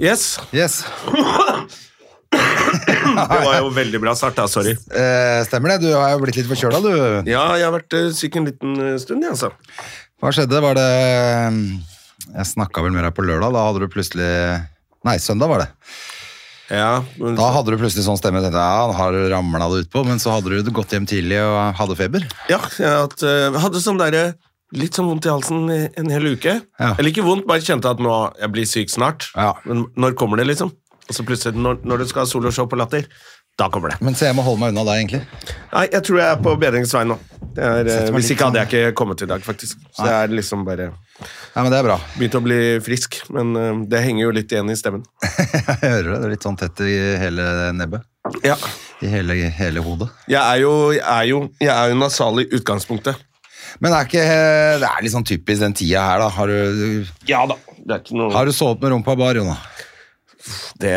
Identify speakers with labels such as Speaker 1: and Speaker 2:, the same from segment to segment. Speaker 1: Yes,
Speaker 2: Yes.
Speaker 1: det var jo veldig bra start da, sorry.
Speaker 2: Eh, stemmer det. Du har jo blitt litt forkjøla, du.
Speaker 1: Ja, jeg har vært eh, syk en liten eh, stund, jeg, altså.
Speaker 2: Hva skjedde? Var det eh, Jeg snakka vel med deg på lørdag. Da hadde du plutselig Nei, søndag var det.
Speaker 1: Ja, men,
Speaker 2: Da hadde du plutselig sånn stemme. Jeg tenkte, ja, han har ramla det utpå, men så hadde du gått hjem tidlig og hadde feber.
Speaker 1: ja jeg har hatt, eh, hadde sånn der, eh, litt sånn vondt i halsen i en hel uke.
Speaker 2: Ja.
Speaker 1: Eller ikke vondt, bare kjente at nå, jeg blir syk snart.
Speaker 2: Ja.
Speaker 1: Men når kommer det, liksom? Og så plutselig, når, når du skal ha soloshow på latter, da kommer det.
Speaker 2: Men så jeg må holde meg unna deg, egentlig.
Speaker 1: Nei, jeg tror jeg er på bedringsvei nå. Det er, eh,
Speaker 2: Setter meg
Speaker 1: hvis
Speaker 2: litt
Speaker 1: ikke hadde jeg ikke kommet i dag, faktisk. Så jeg er liksom bare
Speaker 2: Nei, men det er bra.
Speaker 1: begynt å bli frisk, men eh, det henger jo litt igjen i stemmen.
Speaker 2: Jeg hører det. Det er litt sånn tett i hele nebbet.
Speaker 1: Ja,
Speaker 2: I hele, hele hodet.
Speaker 1: jeg er jo, jeg er jo, jeg er jo nasal i utgangspunktet.
Speaker 2: Men det er ikke Det er litt sånn typisk den tida her, da. Har du,
Speaker 1: Ja da. Det er ikke noe...
Speaker 2: har du sovet med rumpa bar, Jonah?
Speaker 1: Det...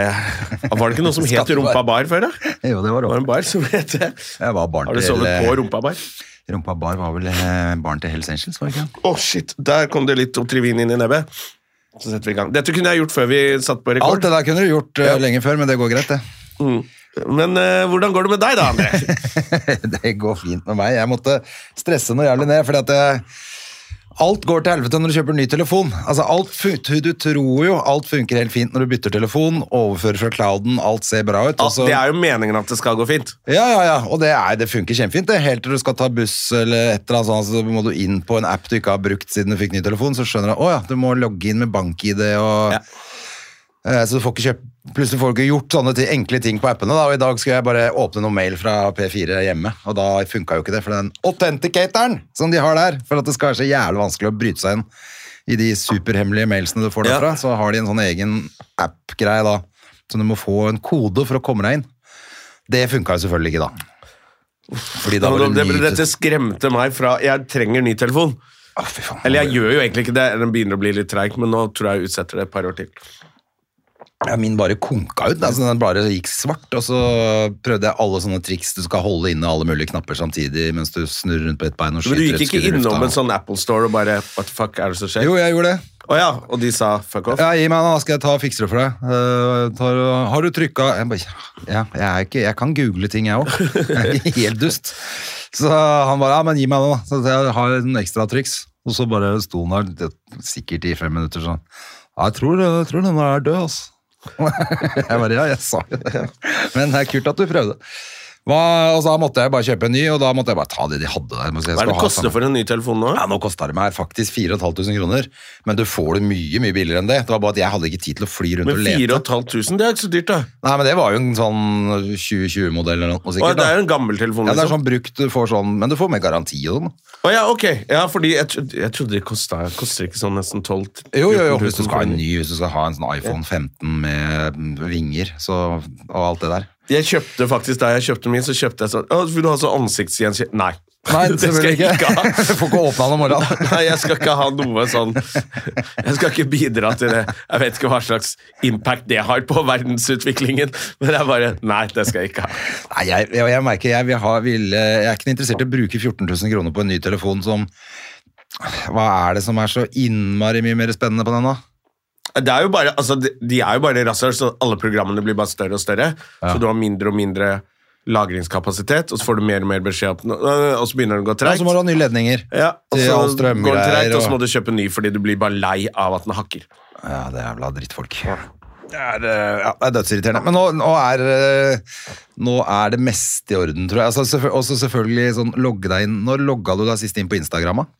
Speaker 1: Var det ikke noe som het
Speaker 2: Skattebar.
Speaker 1: Rumpa bar før, da?
Speaker 2: Jo, det var
Speaker 1: Det var
Speaker 2: rått.
Speaker 1: en bar som het det.
Speaker 2: Jeg var barn
Speaker 1: Har du
Speaker 2: til- eh,
Speaker 1: sovet på Rumpa bar?
Speaker 2: Rumpa bar var vel eh, barn til Hells Angels, var det ikke?
Speaker 1: Å, shit. Der kom det litt Otrivin inn i nebbet. Så setter vi i gang. Dette kunne jeg gjort før vi satt på
Speaker 2: Alt
Speaker 1: rekord. Mm.
Speaker 2: det der kunne du gjort eh, lenge før, men det går greit, det.
Speaker 1: Men eh, hvordan går det med deg, da, André?
Speaker 2: det går fint med meg. Jeg måtte stresse noe jævlig ned, fordi at jeg, alt går til helvete når du kjøper ny telefon. Altså, alt fun du, du tror jo alt funker helt fint når du bytter telefon, overfører fra clouden, alt ser bra ut. og så-
Speaker 1: Ah, Det er jo meningen at det skal gå fint.
Speaker 2: Ja, ja, ja, og det, er, det funker kjempefint. Det. Helt til du skal ta buss eller et eller annet sånt, så må du inn på en app du ikke har brukt siden du fikk ny telefon, så skjønner du at ja, du må logge inn med bank-ID og
Speaker 1: Ja.
Speaker 2: Eh, Så du får ikke kjøpt Plutselig får du ikke gjort sånne ti- enkle ting på appene. Da. Og I dag skulle jeg bare åpne noe mail fra P4 hjemme, og da funka jo ikke det. For den authenticatoren som de har der, for at det skal være så jævlig vanskelig å bryte seg inn i de superhemmelige mailsene du får
Speaker 1: Ja.
Speaker 2: derfra, så har de en sånn egen app-greie da, så du må få en kode for å komme deg inn. Det funka jo selvfølgelig ikke, da. Fordi da var
Speaker 1: Det,
Speaker 2: det
Speaker 1: det,
Speaker 2: ny
Speaker 1: dette skremte meg fra Jeg trenger ny telefon.
Speaker 2: Å, fy faen.
Speaker 1: Eller jeg gjør jo egentlig ikke det, den begynner å bli litt treig, men nå tror jeg jeg utsetter det et par år til.
Speaker 2: Ja, min bare konka ut. Altså, den bare gikk svart, og så prøvde jeg alle sånne triks. Du skal holde inne alle mulige knapper samtidig mens du snurrer rundt på ett bein og
Speaker 1: Men
Speaker 2: skyter
Speaker 1: du gikk
Speaker 2: et
Speaker 1: ikke
Speaker 2: skudd i
Speaker 1: innom
Speaker 2: lufta.
Speaker 1: en sånn Apple Store og bare What the fuck er det som skjer?
Speaker 2: Jo, jeg gjorde det.
Speaker 1: Å ja, og de sa fuck off?
Speaker 2: Ja, gi meg den, da skal jeg ta og fikse det for deg. Eh, tar, har du trykka jeg, bare, ja, jeg, er ikke, jeg kan google ting, jeg òg. Jeg er Helt dust. Så han bare ja, men gi meg den, da. Så jeg har noen ekstra triks. Og så bare sto han der det- sikkert i fem minutter sånn. Ja, jeg tror, jeg tror denne er død, altså. Jeg bare ja, jeg sa jo det. Men det er kult at du prøvde. Hva, og så da måtte jeg bare kjøpe en ny, og da måtte jeg bare ta det de hadde der. Jeg
Speaker 1: Hva er
Speaker 2: skulle ha
Speaker 1: det
Speaker 2: samme-
Speaker 1: koster for en ny telefon nå?
Speaker 2: ja, nå kosta det meg faktisk 4500 kroner, men du får det mye mye billigere enn det. Det var bare at jeg hadde ikke tid til å fly rundt
Speaker 1: Men
Speaker 2: og lete.
Speaker 1: 4500, det er ikke så dyrt, da.
Speaker 2: Nei, men det var jo en sånn 2020-modell eller noe
Speaker 1: Å,
Speaker 2: sikkert.
Speaker 1: det er jo
Speaker 2: da.
Speaker 1: en gammel telefon.
Speaker 2: Ja, det er
Speaker 1: liksom.
Speaker 2: sånn brukt, du får sånn, men du får med garanti og sånn.
Speaker 1: Å ja, ok. Ja, fordi jeg, tro- jeg trodde det kosta Koster ikke sånn nesten 12
Speaker 2: Jo, jo, jo, hvis du
Speaker 1: 14 000
Speaker 2: skal ha en
Speaker 1: kroner.
Speaker 2: ny, hvis du skal ha en sånn iPhone 15 med mm, vinger så, og alt det der.
Speaker 1: Jeg kjøpte faktisk da jeg kjøpte min, så kjøpte jeg sånn Å, vil du ha sånn ansiktsgjenkjenning? Nei.
Speaker 2: Nei,
Speaker 1: det skal jeg ikke ha.
Speaker 2: Du får ikke åpna den om morgenen.
Speaker 1: Nei, jeg skal ikke ha noe sånn Jeg skal ikke bidra til det. Jeg vet ikke hva slags impact det har på verdensutviklingen, men jeg bare Nei, det skal jeg ikke ha.
Speaker 2: Nei, jeg, jeg, jeg merker jeg, vil ha, vil, eh, jeg er ikke interessert i å bruke 14 000 kroner på en ny telefon som Hva er det som er så innmari mye mer spennende på den, da?
Speaker 1: Det er jo bare, altså, de, de er jo bare rasshøl, så alle programmene blir bare større og større. Så du har mindre og mindre lagringskapasitet, og så får du mer og mer beskjed om øh, Og så begynner det å gå
Speaker 2: Ja,
Speaker 1: treigt.
Speaker 2: så må du ha nye ledninger.
Speaker 1: Ja, og
Speaker 2: Til
Speaker 1: så
Speaker 2: all
Speaker 1: går
Speaker 2: strømgreier
Speaker 1: det treigt, og så
Speaker 2: og- sånn.
Speaker 1: må du kjøpe ny fordi du blir bare lei av at den hakker.
Speaker 2: Ja, det er jævla drittfolk. Det er, eh, ja, det er dødsirriterende. Men nå, nå, er, eh, nå er det meste i orden, tror jeg. Altså, selvfø- også selvfølgelig sånn, logge deg inn. Når logga du deg sist inn på Instagram? da?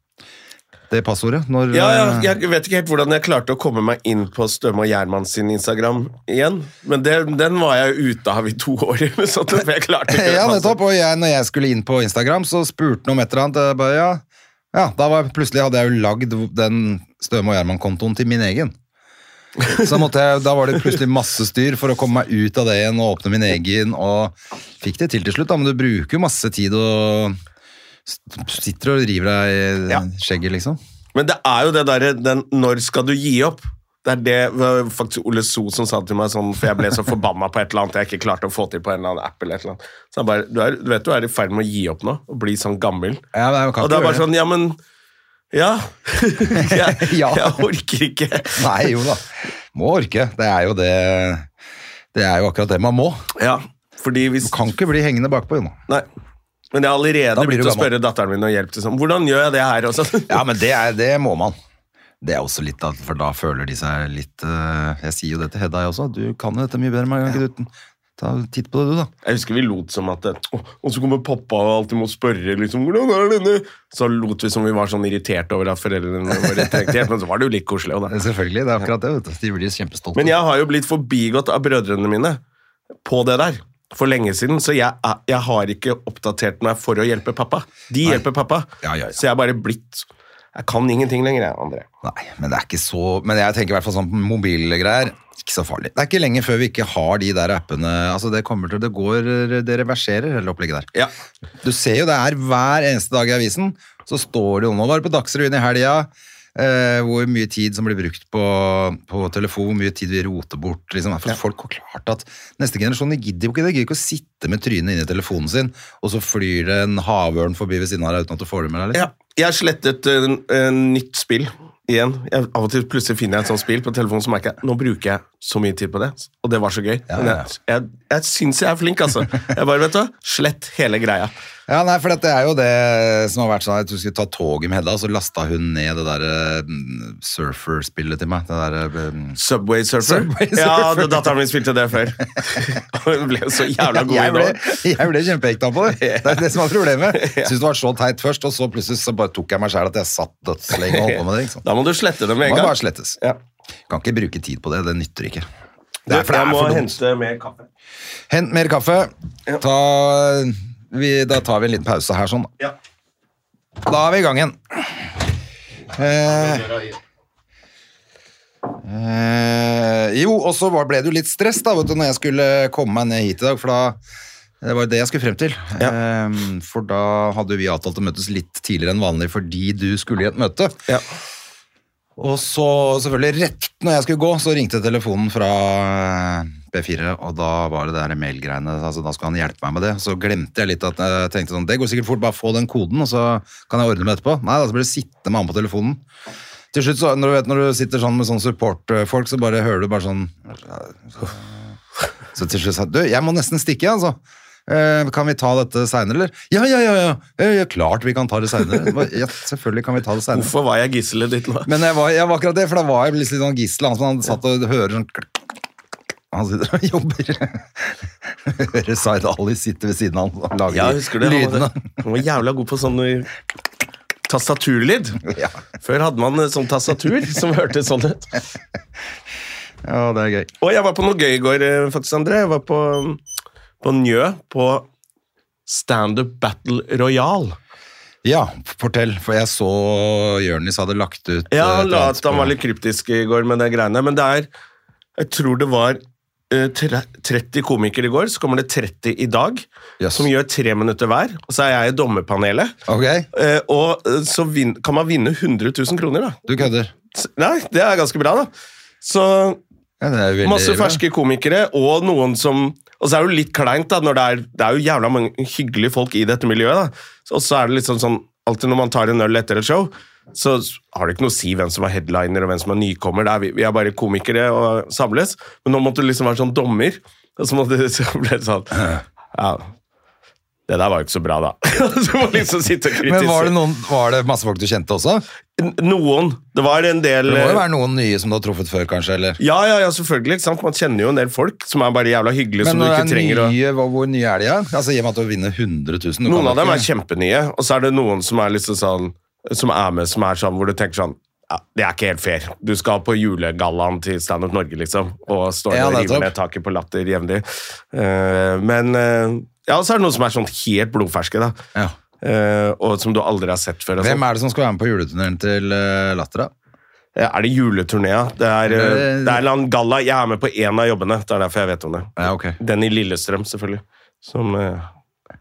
Speaker 2: Det passordet? Når,
Speaker 1: Ja, ja,
Speaker 2: eh,
Speaker 1: jeg vet ikke helt hvordan jeg klarte å komme meg inn på Støme og Gjermann sin Instagram igjen, men det, den var jeg ute av i to år. Så det- for jeg klarte ikke
Speaker 2: Ja,
Speaker 1: det.
Speaker 2: nettopp. Og jeg, når jeg skulle inn på Instagram, så spurte han om et eller annet. Jeg Bare, ja. ja, da var jeg, plutselig hadde jeg jo lagd den Støme og Gjerman-kontoen til min egen. Så måtte jeg, da var det plutselig masse styr for å komme meg ut av det igjen og åpne min egen. Og fikk det til til slutt, da, men du bruker jo masse tid og s- sitter og river deg i
Speaker 1: Ja.
Speaker 2: skjegget, liksom.
Speaker 1: Men det er jo det derre den 'når skal du gi opp'? Det er det var faktisk Ole So som sa til meg sånn, for jeg ble så forbanna på et eller annet jeg ikke klarte å få til på en eller annen app. eller et eller annet. Så han bare, du, er, du vet du er i ferd med å gi opp nå, og bli sånn gammel.
Speaker 2: Ja, men jeg kan
Speaker 1: Og
Speaker 2: ikke
Speaker 1: det er bare
Speaker 2: gjøre
Speaker 1: sånn, ja, men Ja. jeg,
Speaker 2: Ja.
Speaker 1: jeg orker ikke.
Speaker 2: Nei, jo da. Må orke. Det er jo det Det er jo akkurat det man må.
Speaker 1: Ja, fordi hvis
Speaker 2: Du kan ikke bli hengende bakpå, jo nå.
Speaker 1: Nei. Men jeg har allerede
Speaker 2: Da blir
Speaker 1: begynt
Speaker 2: du
Speaker 1: å spørre datteren min om hjelp. til sånn, Hvordan gjør jeg det her også?
Speaker 2: Ja, men det, er, det må man. Det er også litt, da, for da føler de seg litt eh, Jeg sier jo det til Hedda, jeg også. Du kan jo dette mye bedre enn meg. kan ikke du- Ta en titt på det, du, da.
Speaker 1: Jeg husker vi lot som at det- «Å, Og så kommer pappa og alltid må spørre liksom, hvordan er denne? Så lot vi som vi var sånn irritert over at foreldrene våre trengte hjelp, men så var det jo litt koselig. også, da.
Speaker 2: Selvfølgelig, det er akkurat det. vet du. De blir kjempestolte.
Speaker 1: Men jeg har jo blitt forbigått av brødrene mine på det der for lenge siden, så jeg, er- jeg har ikke oppdatert meg for å hjelpe pappa. De
Speaker 2: Nei.
Speaker 1: hjelper pappa,
Speaker 2: Ja, ja, ja.
Speaker 1: så jeg er bare blitt Jeg kan ingenting lenger, jeg, André.
Speaker 2: Nei, men det er ikke så Men jeg tenker i hvert fall sånn på mobilgreier. Ikke så farlig. Det er ikke lenge før vi ikke har de der appene. Altså, det kommer til Det går Det reverserer hele opplegget der.
Speaker 1: Ja.
Speaker 2: Du ser jo det er hver eneste dag i avisen, så står det jo nå var det på Dagsrevyen i helga, eh, hvor mye tid som blir brukt på, på telefon, hvor mye tid vi roter bort. Liksom. For folk har klart at neste generasjon de gidder jo ikke det. De gidder ikke å sitte med trynet inni telefonen sin, og så flyr det en havørn forbi ved siden av deg uten at du får det med deg. liksom.
Speaker 1: Ja, jeg slettet uh, nytt spill igjen. Jeg, av og til plutselig finner jeg et sånt spill på telefonen, så merker jeg nå bruker jeg så mye tid på det. Og det var så gøy.
Speaker 2: Ja,
Speaker 1: Men
Speaker 2: ja, ja.
Speaker 1: jeg, jeg, jeg syns jeg er flink, altså. Jeg bare, vet du, hva, slett hele greia.
Speaker 2: Ja, nei, for det er jo det som har vært sånn at du skulle ta toget med Hedda, og så lasta hun ned det der eh, surfer-spillet til meg. Det der, eh,
Speaker 1: Subway Surfer.
Speaker 2: Subway Surfer.
Speaker 1: Ja, det- datteren min spilte det før. Og hun ble så jævla god i
Speaker 2: jeg,
Speaker 1: det.
Speaker 2: ble,
Speaker 1: også.
Speaker 2: jeg ble kjempehekta på det. Det er det som er problemet. Syns det var så teit først, og så plutselig så bare tok jeg meg sjæl at jeg satt dødslenge og holdt på med det. ikke sant?
Speaker 1: Da må du slette det med en
Speaker 2: Må
Speaker 1: gang.
Speaker 2: bare slettes.
Speaker 1: Ja.
Speaker 2: Kan ikke bruke tid på det. Det nytter ikke. Det er, for det
Speaker 1: Jeg
Speaker 2: er
Speaker 1: må
Speaker 2: for dumt.
Speaker 1: hente mer kaffe.
Speaker 2: Hent mer kaffe. Ta, vi, da tar vi en liten pause her, sånn.
Speaker 1: Ja.
Speaker 2: Da er vi i gang igjen. Eh, eh, jo, og så var- ble det jo litt stress da, vet du, når jeg skulle komme meg ned hit i dag, for da det var det jeg skulle frem til. Eh, for da hadde vi avtalt å møtes litt tidligere enn vanlig fordi du skulle i et møte.
Speaker 1: Ja.
Speaker 2: Og så selvfølgelig rett når jeg skulle gå, så ringte telefonen fra B4, og da var det der mailgreiene, altså da skulle han hjelpe meg med det. Så glemte jeg litt at jeg tenkte sånn, det går sikkert fort, bare få den koden, og så kan jeg ordne med etterpå. Nei, da så ble det sitte med han på telefonen. Til slutt, så, når, du vet, når du sitter sånn med sånne supportfolk, så bare hører du bare sånn... Så til slutt sa han, du, jeg må nesten stikke, altså. Eh, kan vi ta dette senere, eller? Ja, ja, ja, ja, ja, ja klart vi kan ta det senere. Bare, Ja, selvfølgelig kan vi ta det senere.
Speaker 1: Hvorfor var jeg gisselet ditt nå?
Speaker 2: Men jeg var, jeg var akkurat det, for da var jeg litt sånn gissel. Han som han satt og hører sånn klikk, klikk, klikk. Han sitter og jobber. Hører Zaid Ali sitte ved siden av han og lage
Speaker 1: Ja,
Speaker 2: de
Speaker 1: husker du? Han
Speaker 2: lydene.
Speaker 1: var, han var jævla god på sånn eh, tastaturlyd.
Speaker 2: Ja.
Speaker 1: Før hadde man eh, sånn tastatur som hørtes sånn ut.
Speaker 2: ja, det er gøy.
Speaker 1: Og jeg var på noe gøy i går, eh, faktisk, André. Jeg var på, på Njø på Standup Battle Royal.
Speaker 2: Ja, fortell, for jeg så Jørnis hadde lagt ut
Speaker 1: Ja,
Speaker 2: eh, et
Speaker 1: han la
Speaker 2: eller
Speaker 1: at han var
Speaker 2: annet
Speaker 1: litt kryptisk i går med de greiene, men det er Jeg tror det var eh, tre- 30 komikere i går, så kommer det 30 i dag,
Speaker 2: Jøss.
Speaker 1: som gjør tre minutter hver. Og så er jeg i dommerpanelet.
Speaker 2: på- Ok,
Speaker 1: eh, Og eh, så vin, kan man vinne 100 000 kroner, da.
Speaker 2: du kødder.
Speaker 1: S- Nei, det er ganske bra, da. Så
Speaker 2: Ja, det er veldig
Speaker 1: Masse
Speaker 2: bra.
Speaker 1: ferske komikere, og noen som Og så er det jo litt kleint, da, når det er, det er jo jævla mange hyggelige folk i dette miljøet. da. Så- Og så er det liksom sånn Alltid når man tar en øl etter et show, så har det ikke noe å si hvem som er headliner og hvem som er nykommer. Det er, vi, vi er bare komikere og samles. Men nå måtte du liksom være sånn dommer, og så, måtte, så ble det sånn Ja. Det der var jo ikke så bra, da. så må liksom sitte og kritisere.
Speaker 2: Men var det, noen, var det masse folk du kjente også?
Speaker 1: N- Noen. Det var en del
Speaker 2: Det må jo være noen nye som du har truffet før, kanskje, eller?
Speaker 1: Ja, ja, ja, selvfølgelig. Ikke sant? Man kjenner jo en del folk som er bare jævla hyggelige.
Speaker 2: Men
Speaker 1: som du
Speaker 2: når
Speaker 1: ikke
Speaker 2: det
Speaker 1: trenger
Speaker 2: er
Speaker 1: å...
Speaker 2: nye, hvor, hvor nye er de? Ja? Altså, I og med at du vinner 100 000 du
Speaker 1: Noen
Speaker 2: kan
Speaker 1: av dem
Speaker 2: ikke-
Speaker 1: er kjempenye, og så er det noen som er liksom sånn Som er med, som er sånn hvor du tenker sånn ja, Det er ikke helt fair. Du skal på julegallaen til Stand Up Norge, liksom, og står
Speaker 2: Ja,
Speaker 1: og river
Speaker 2: nettopp.
Speaker 1: ned taket på latter jevnlig. Eh, men eh, Ja, og så er det noen som er sånn helt blodferske, da.
Speaker 2: Ja.
Speaker 1: Eh, og som du aldri har sett før. Og
Speaker 2: Hvem
Speaker 1: sånn.
Speaker 2: er det som skal være med på juleturneren til eh, Latter, da?
Speaker 1: Er det juleturnea? Det er, eh, det er en eller annen galla. Jeg er med på én av jobbene. Det er derfor jeg vet om det.
Speaker 2: Ja, ok.
Speaker 1: Den i Lillestrøm, selvfølgelig. Som eh,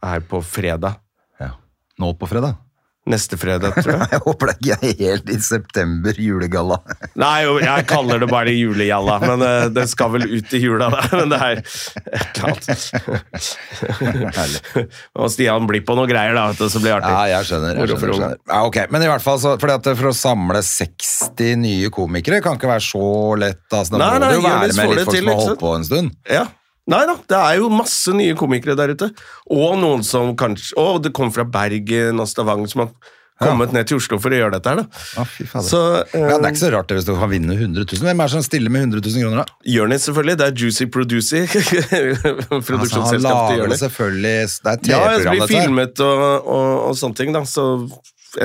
Speaker 1: er på fredag.
Speaker 2: Ja. Nå på fredag.
Speaker 1: Neste fredag, tror jeg.
Speaker 2: Jeg håper det ikke er helt i september julegalla.
Speaker 1: Nei, jo, jeg kaller det bare julejalla, men eh, det skal vel ut i jula, da. Men det er et eller annet. Og Stian blir på noen greier, da, vet du, så blir det artig.
Speaker 2: Ja, jeg skjønner. Jeg
Speaker 1: Moro for
Speaker 2: skjønner,
Speaker 1: ungen.
Speaker 2: skjønner. Ja, ok. Men i hvert fall, så, fordi at for å samle 60 nye komikere kan ikke være så lett. Altså, da
Speaker 1: Nei,
Speaker 2: må
Speaker 1: nei,
Speaker 2: det jo
Speaker 1: gjør
Speaker 2: være
Speaker 1: litt
Speaker 2: med litt
Speaker 1: smålig
Speaker 2: folk
Speaker 1: til,
Speaker 2: som har
Speaker 1: ikke sant?
Speaker 2: holdt på en stund.
Speaker 1: Ja. Nei da, det er jo masse nye komikere der ute. Og noen som kanskje Å, det kom fra Bergen og Stavanger, som har kommet ned til Oslo for å gjøre dette her, da.
Speaker 2: Ja, fy fader.
Speaker 1: Så
Speaker 2: Men
Speaker 1: eh,
Speaker 2: ja, det er ikke så rart det hvis du kan vinne 100 000. Hvem er det som stiller med 100 000 kroner, da?
Speaker 1: Jonis, selvfølgelig. Det er Juicy Producy.
Speaker 2: Altså, han
Speaker 1: Produksjonsselskapet til
Speaker 2: lager det
Speaker 1: Jonis.
Speaker 2: selvfølgelig Det er et
Speaker 1: Ja, det
Speaker 2: TV-program,
Speaker 1: blir
Speaker 2: dette. her.
Speaker 1: filmet og, og, og sånne ting, da. Så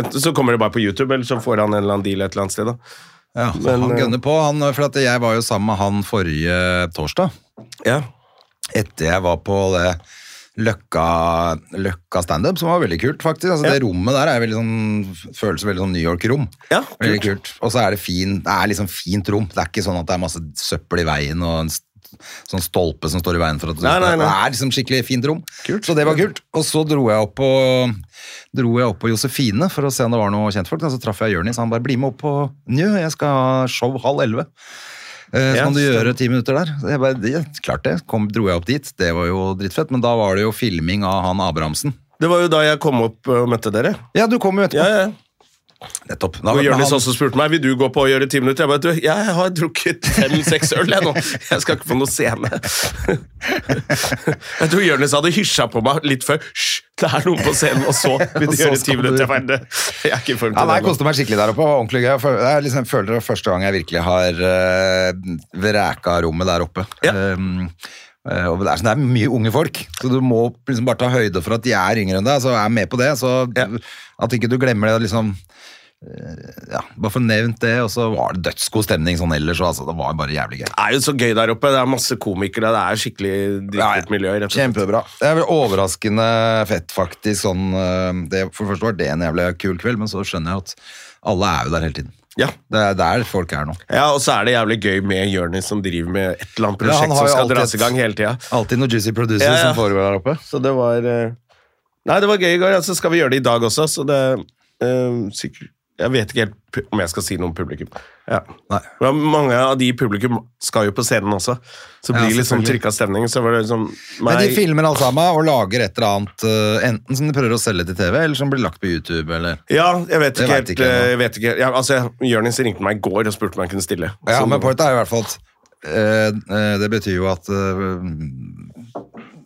Speaker 1: enten så kommer det bare på YouTube, eller så får han en eller annen deal et eller annet sted, da.
Speaker 2: Ja, så
Speaker 1: Men,
Speaker 2: han
Speaker 1: eh,
Speaker 2: gønner på, han, for at jeg var jo sammen med han forrige torsdag.
Speaker 1: Ja.
Speaker 2: etter jeg var på det Løkka, løkka standup, som var veldig kult, faktisk. Altså, Det rommet der er veldig sånn, føles veldig som New York-rom.
Speaker 1: Ja,
Speaker 2: veldig
Speaker 1: kult.
Speaker 2: kult. Og så er det fin, det er liksom fint rom. Det er ikke sånn at det er masse søppel i veien og en st- sånn stolpe som står i veien for at du
Speaker 1: Nei, nei, nei.
Speaker 2: Det er liksom skikkelig fint rom. Så det var kult. Og så dro jeg opp på, dro jeg opp på Josefine for å se om det var noe kjentfolk. Og så traff jeg Jørnis. Han bare 'bli med opp på Njø, jeg skal ha show halv elleve'. Eh, Så
Speaker 1: Ja,
Speaker 2: kan du
Speaker 1: stemmer.
Speaker 2: gjøre ti minutter der. Så Jeg bare, det, klart det. Kom, dro jeg opp dit, det var jo drittfett, men da var det jo filming av han Abrahamsen.
Speaker 1: Det var jo da jeg kom opp og møtte dere.
Speaker 2: Ja, du kom jo etterpå.
Speaker 1: Ja, ja.
Speaker 2: Nettopp. Da,
Speaker 1: Og
Speaker 2: men
Speaker 1: Jonis
Speaker 2: han-
Speaker 1: også spurte meg vil du gå på og gjøre ti minutter. Jeg bare, du, jeg har drukket fem-seks øl jeg nå. Jeg skal ikke på noe scene. Jeg tror Jonis hadde hysja på meg litt før. Hysj, det er noen på scenen, og så
Speaker 2: Og
Speaker 1: vil de
Speaker 2: så
Speaker 1: gjøre
Speaker 2: skal
Speaker 1: ti
Speaker 2: du-
Speaker 1: minutter. Jeg bare, det- Jeg er ikke i form
Speaker 2: Ja,
Speaker 1: til
Speaker 2: nei,
Speaker 1: det.
Speaker 2: jeg koste meg skikkelig der oppe. Det var Ordentlig gøy. Jeg føl- Jeg liksom føler det var første gang jeg virkelig har eh, vreka rommet der oppe.
Speaker 1: Ja.
Speaker 2: Um, eh, og det, er, sånn- det er mye unge folk, så du må liksom bare ta høyde for at de er yngre enn deg. Så er med på det. Så
Speaker 1: Ja.
Speaker 2: at ikke du glemmer det. liksom eh, ja, Bare få nevnt det, og så var det dødsgod stemning sånn ellers. og Altså, det var bare jævlig gøy.
Speaker 1: Det er jo så gøy der oppe. Det er masse komikere. Det er skikkelig dritkult miljø. Rett og slett.
Speaker 2: Kjempebra. Det er vel overraskende fett, faktisk. Sånn, eh, det, for det første var det en jævlig kul kveld, men så skjønner jeg at alle er jo der hele tiden.
Speaker 1: Ja.
Speaker 2: Det er der folk er nå.
Speaker 1: ja, og så er det jævlig gøy med Jonis som driver med et eller annet
Speaker 2: Ja, han
Speaker 1: prosjekt
Speaker 2: har
Speaker 1: som
Speaker 2: jo
Speaker 1: skal
Speaker 2: alltid
Speaker 1: dras i
Speaker 2: et-
Speaker 1: gang hele tida.
Speaker 2: Alltid noen juicy producers
Speaker 1: Ja, ja.
Speaker 2: som foregår der oppe.
Speaker 1: Så det var eh, Nei, det var gøy i går, og så skal vi gjøre det i dag også, så det eh, sikkert, Jeg vet ikke helt pu- om jeg skal si noe om publikum. Ja.
Speaker 2: Nei.
Speaker 1: Men mange av de i publikum skal jo på scenen også, så
Speaker 2: Ja,
Speaker 1: blir det litt sånn
Speaker 2: selvfølgelig.
Speaker 1: trykka stemning. Så var det liksom
Speaker 2: Men de
Speaker 1: meg-
Speaker 2: filmer alt sammen og lager et eller annet, eh, enten som de prøver å selge til TV, eller som blir lagt på YouTube, eller
Speaker 1: Ja, jeg vet
Speaker 2: Jeg
Speaker 1: ikke
Speaker 2: vet
Speaker 1: helt.
Speaker 2: ikke
Speaker 1: eh,
Speaker 2: ennå.
Speaker 1: Jeg vet ikke. Ja, altså, Jonis ringte meg i går og spurte om jeg kunne stille.
Speaker 2: Ja,
Speaker 1: Så-
Speaker 2: men pointet er jo i hvert fall at eh, eh, det betyr jo at eh,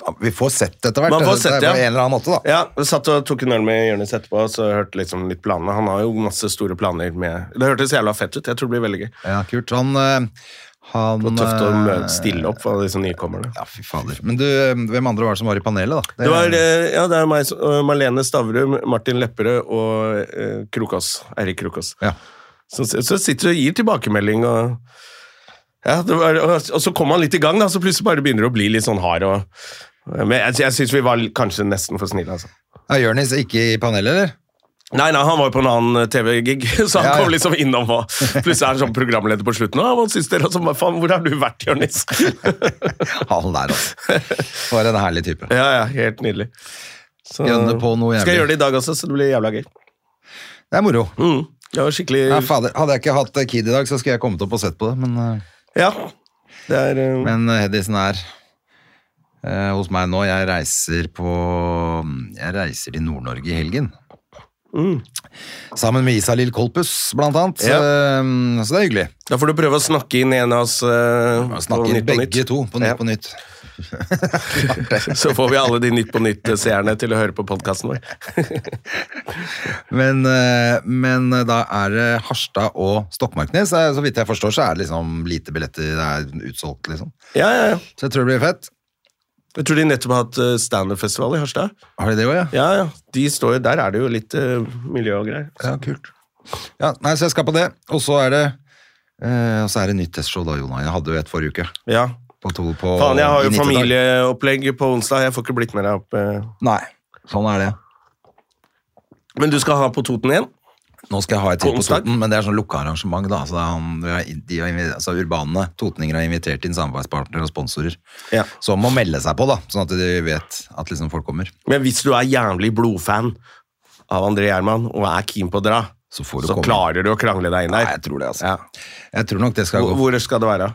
Speaker 2: ja, vi får sett det etter hvert.
Speaker 1: Man får
Speaker 2: Det-
Speaker 1: sett,
Speaker 2: det er
Speaker 1: ja.
Speaker 2: på en eller annen måte, da.
Speaker 1: Ja, jeg satt og tok en øl med Jonis etterpå, så jeg hørte liksom litt planene. Han har jo masse store planer med Det hørtes jævla fett ut. Jeg tror det blir veldig gøy.
Speaker 2: Ja, kult. Han, eh, han
Speaker 1: Og tøft å
Speaker 2: eh,
Speaker 1: mø- stille opp for disse nykommerne.
Speaker 2: Ja, fy fader. Men du, eh, hvem andre var det som var i panelet, da?
Speaker 1: Det var eh, ja, det er meg, som- og Marlene Stavrum, Martin Lepperød og eh, Krokås. Eirik Krokås.
Speaker 2: Ja.
Speaker 1: Så, så sitter du og gir tilbakemelding og ja, det var, og, og så kom han litt i gang, da, så plutselig bare begynner det å bli litt sånn hard. Og, men jeg, jeg syns vi var kanskje nesten for snille. altså.
Speaker 2: Er Jonis ikke i panelet, eller?
Speaker 1: Nei, nei, han var jo på en annen TV-gig, så han
Speaker 2: Ja, ja.
Speaker 1: kom liksom innom og plutselig er han sånn programleder på slutten. Og han synes dere også, "Hva faen, hvor har du vært, Jonis?
Speaker 2: Han der, altså. For en herlig type.
Speaker 1: ja, ja, helt nydelig. Så,
Speaker 2: Gønne på noe jævlig.
Speaker 1: Skal jeg gjøre det i dag også, så det blir jævla gøy.
Speaker 2: Det er moro.
Speaker 1: Mm. Det var skikkelig...
Speaker 2: Ja, fader. Hadde jeg ikke hatt eh, Kid i dag, så skulle jeg kommet opp og sett på det, men, eh,
Speaker 1: Ja, det er... eh,
Speaker 2: men eh, Hedisen er eh, hos meg nå. Jeg reiser på Jeg reiser til Nord-Norge i helgen. Sammen med Isalill Kolpus, blant annet.
Speaker 1: Mm. Ja.
Speaker 2: Eh, Så det er hyggelig.
Speaker 1: Da får du prøve å snakke inn en av oss eh, på
Speaker 2: Snakke inn
Speaker 1: Nytt på
Speaker 2: begge
Speaker 1: Nytt.
Speaker 2: to på Nytt
Speaker 1: Ja.
Speaker 2: på Nytt.
Speaker 1: Så får vi alle de Nytt på Nytt-seerne til å høre på podcasten vår.
Speaker 2: Men, eh, men eh, da er det Harstad og Stokmarknes. Eh, Så vidt jeg forstår, så er det liksom lite billetter. Det er utsolgt, liksom.
Speaker 1: Ja, ja, ja.
Speaker 2: Så jeg tror det blir fett.
Speaker 1: Jeg tror de nettopp har hatt eh, stand-up-festival i Harstad.
Speaker 2: Har de det òg, ja?
Speaker 1: Ja, ja. De står jo... Der er det jo litt eh, miljø og greier.
Speaker 2: Ja, kult. Ja, nei, så jeg skal på det. Og så er det eh, og så er det nytt testshow, da, Jonah. Jeg hadde jo et forrige uke.
Speaker 1: Ja,
Speaker 2: På to, på,
Speaker 1: Faen, jeg har
Speaker 2: i
Speaker 1: jo
Speaker 2: 90-tall.
Speaker 1: familieopplegg på onsdag. Jeg får ikke blitt med deg opp. eh.
Speaker 2: Nei, sånn er det.
Speaker 1: Men du skal ha på Toten igjen?
Speaker 2: Nå skal jeg ha et til på
Speaker 1: Onsdag?
Speaker 2: Toten, men det er sånn lukka arrangement. da. Altså, det er han- vi har- de har invi- altså, Urbane totninger har invitert inn samarbeidspartnere og sponsorer
Speaker 1: Ja.
Speaker 2: som må melde seg på, da, sånn at de vet at liksom, folk kommer.
Speaker 1: Men hvis du er jævlig blodfan av André Gjerman og er keen på å dra,
Speaker 2: Så får du
Speaker 1: så
Speaker 2: komme.
Speaker 1: klarer du å krangle deg inn
Speaker 2: Nei,
Speaker 1: der.
Speaker 2: jeg tror det, altså. Jeg tror nok det skal
Speaker 1: Hvor,
Speaker 2: gå.
Speaker 1: hvor skal det være?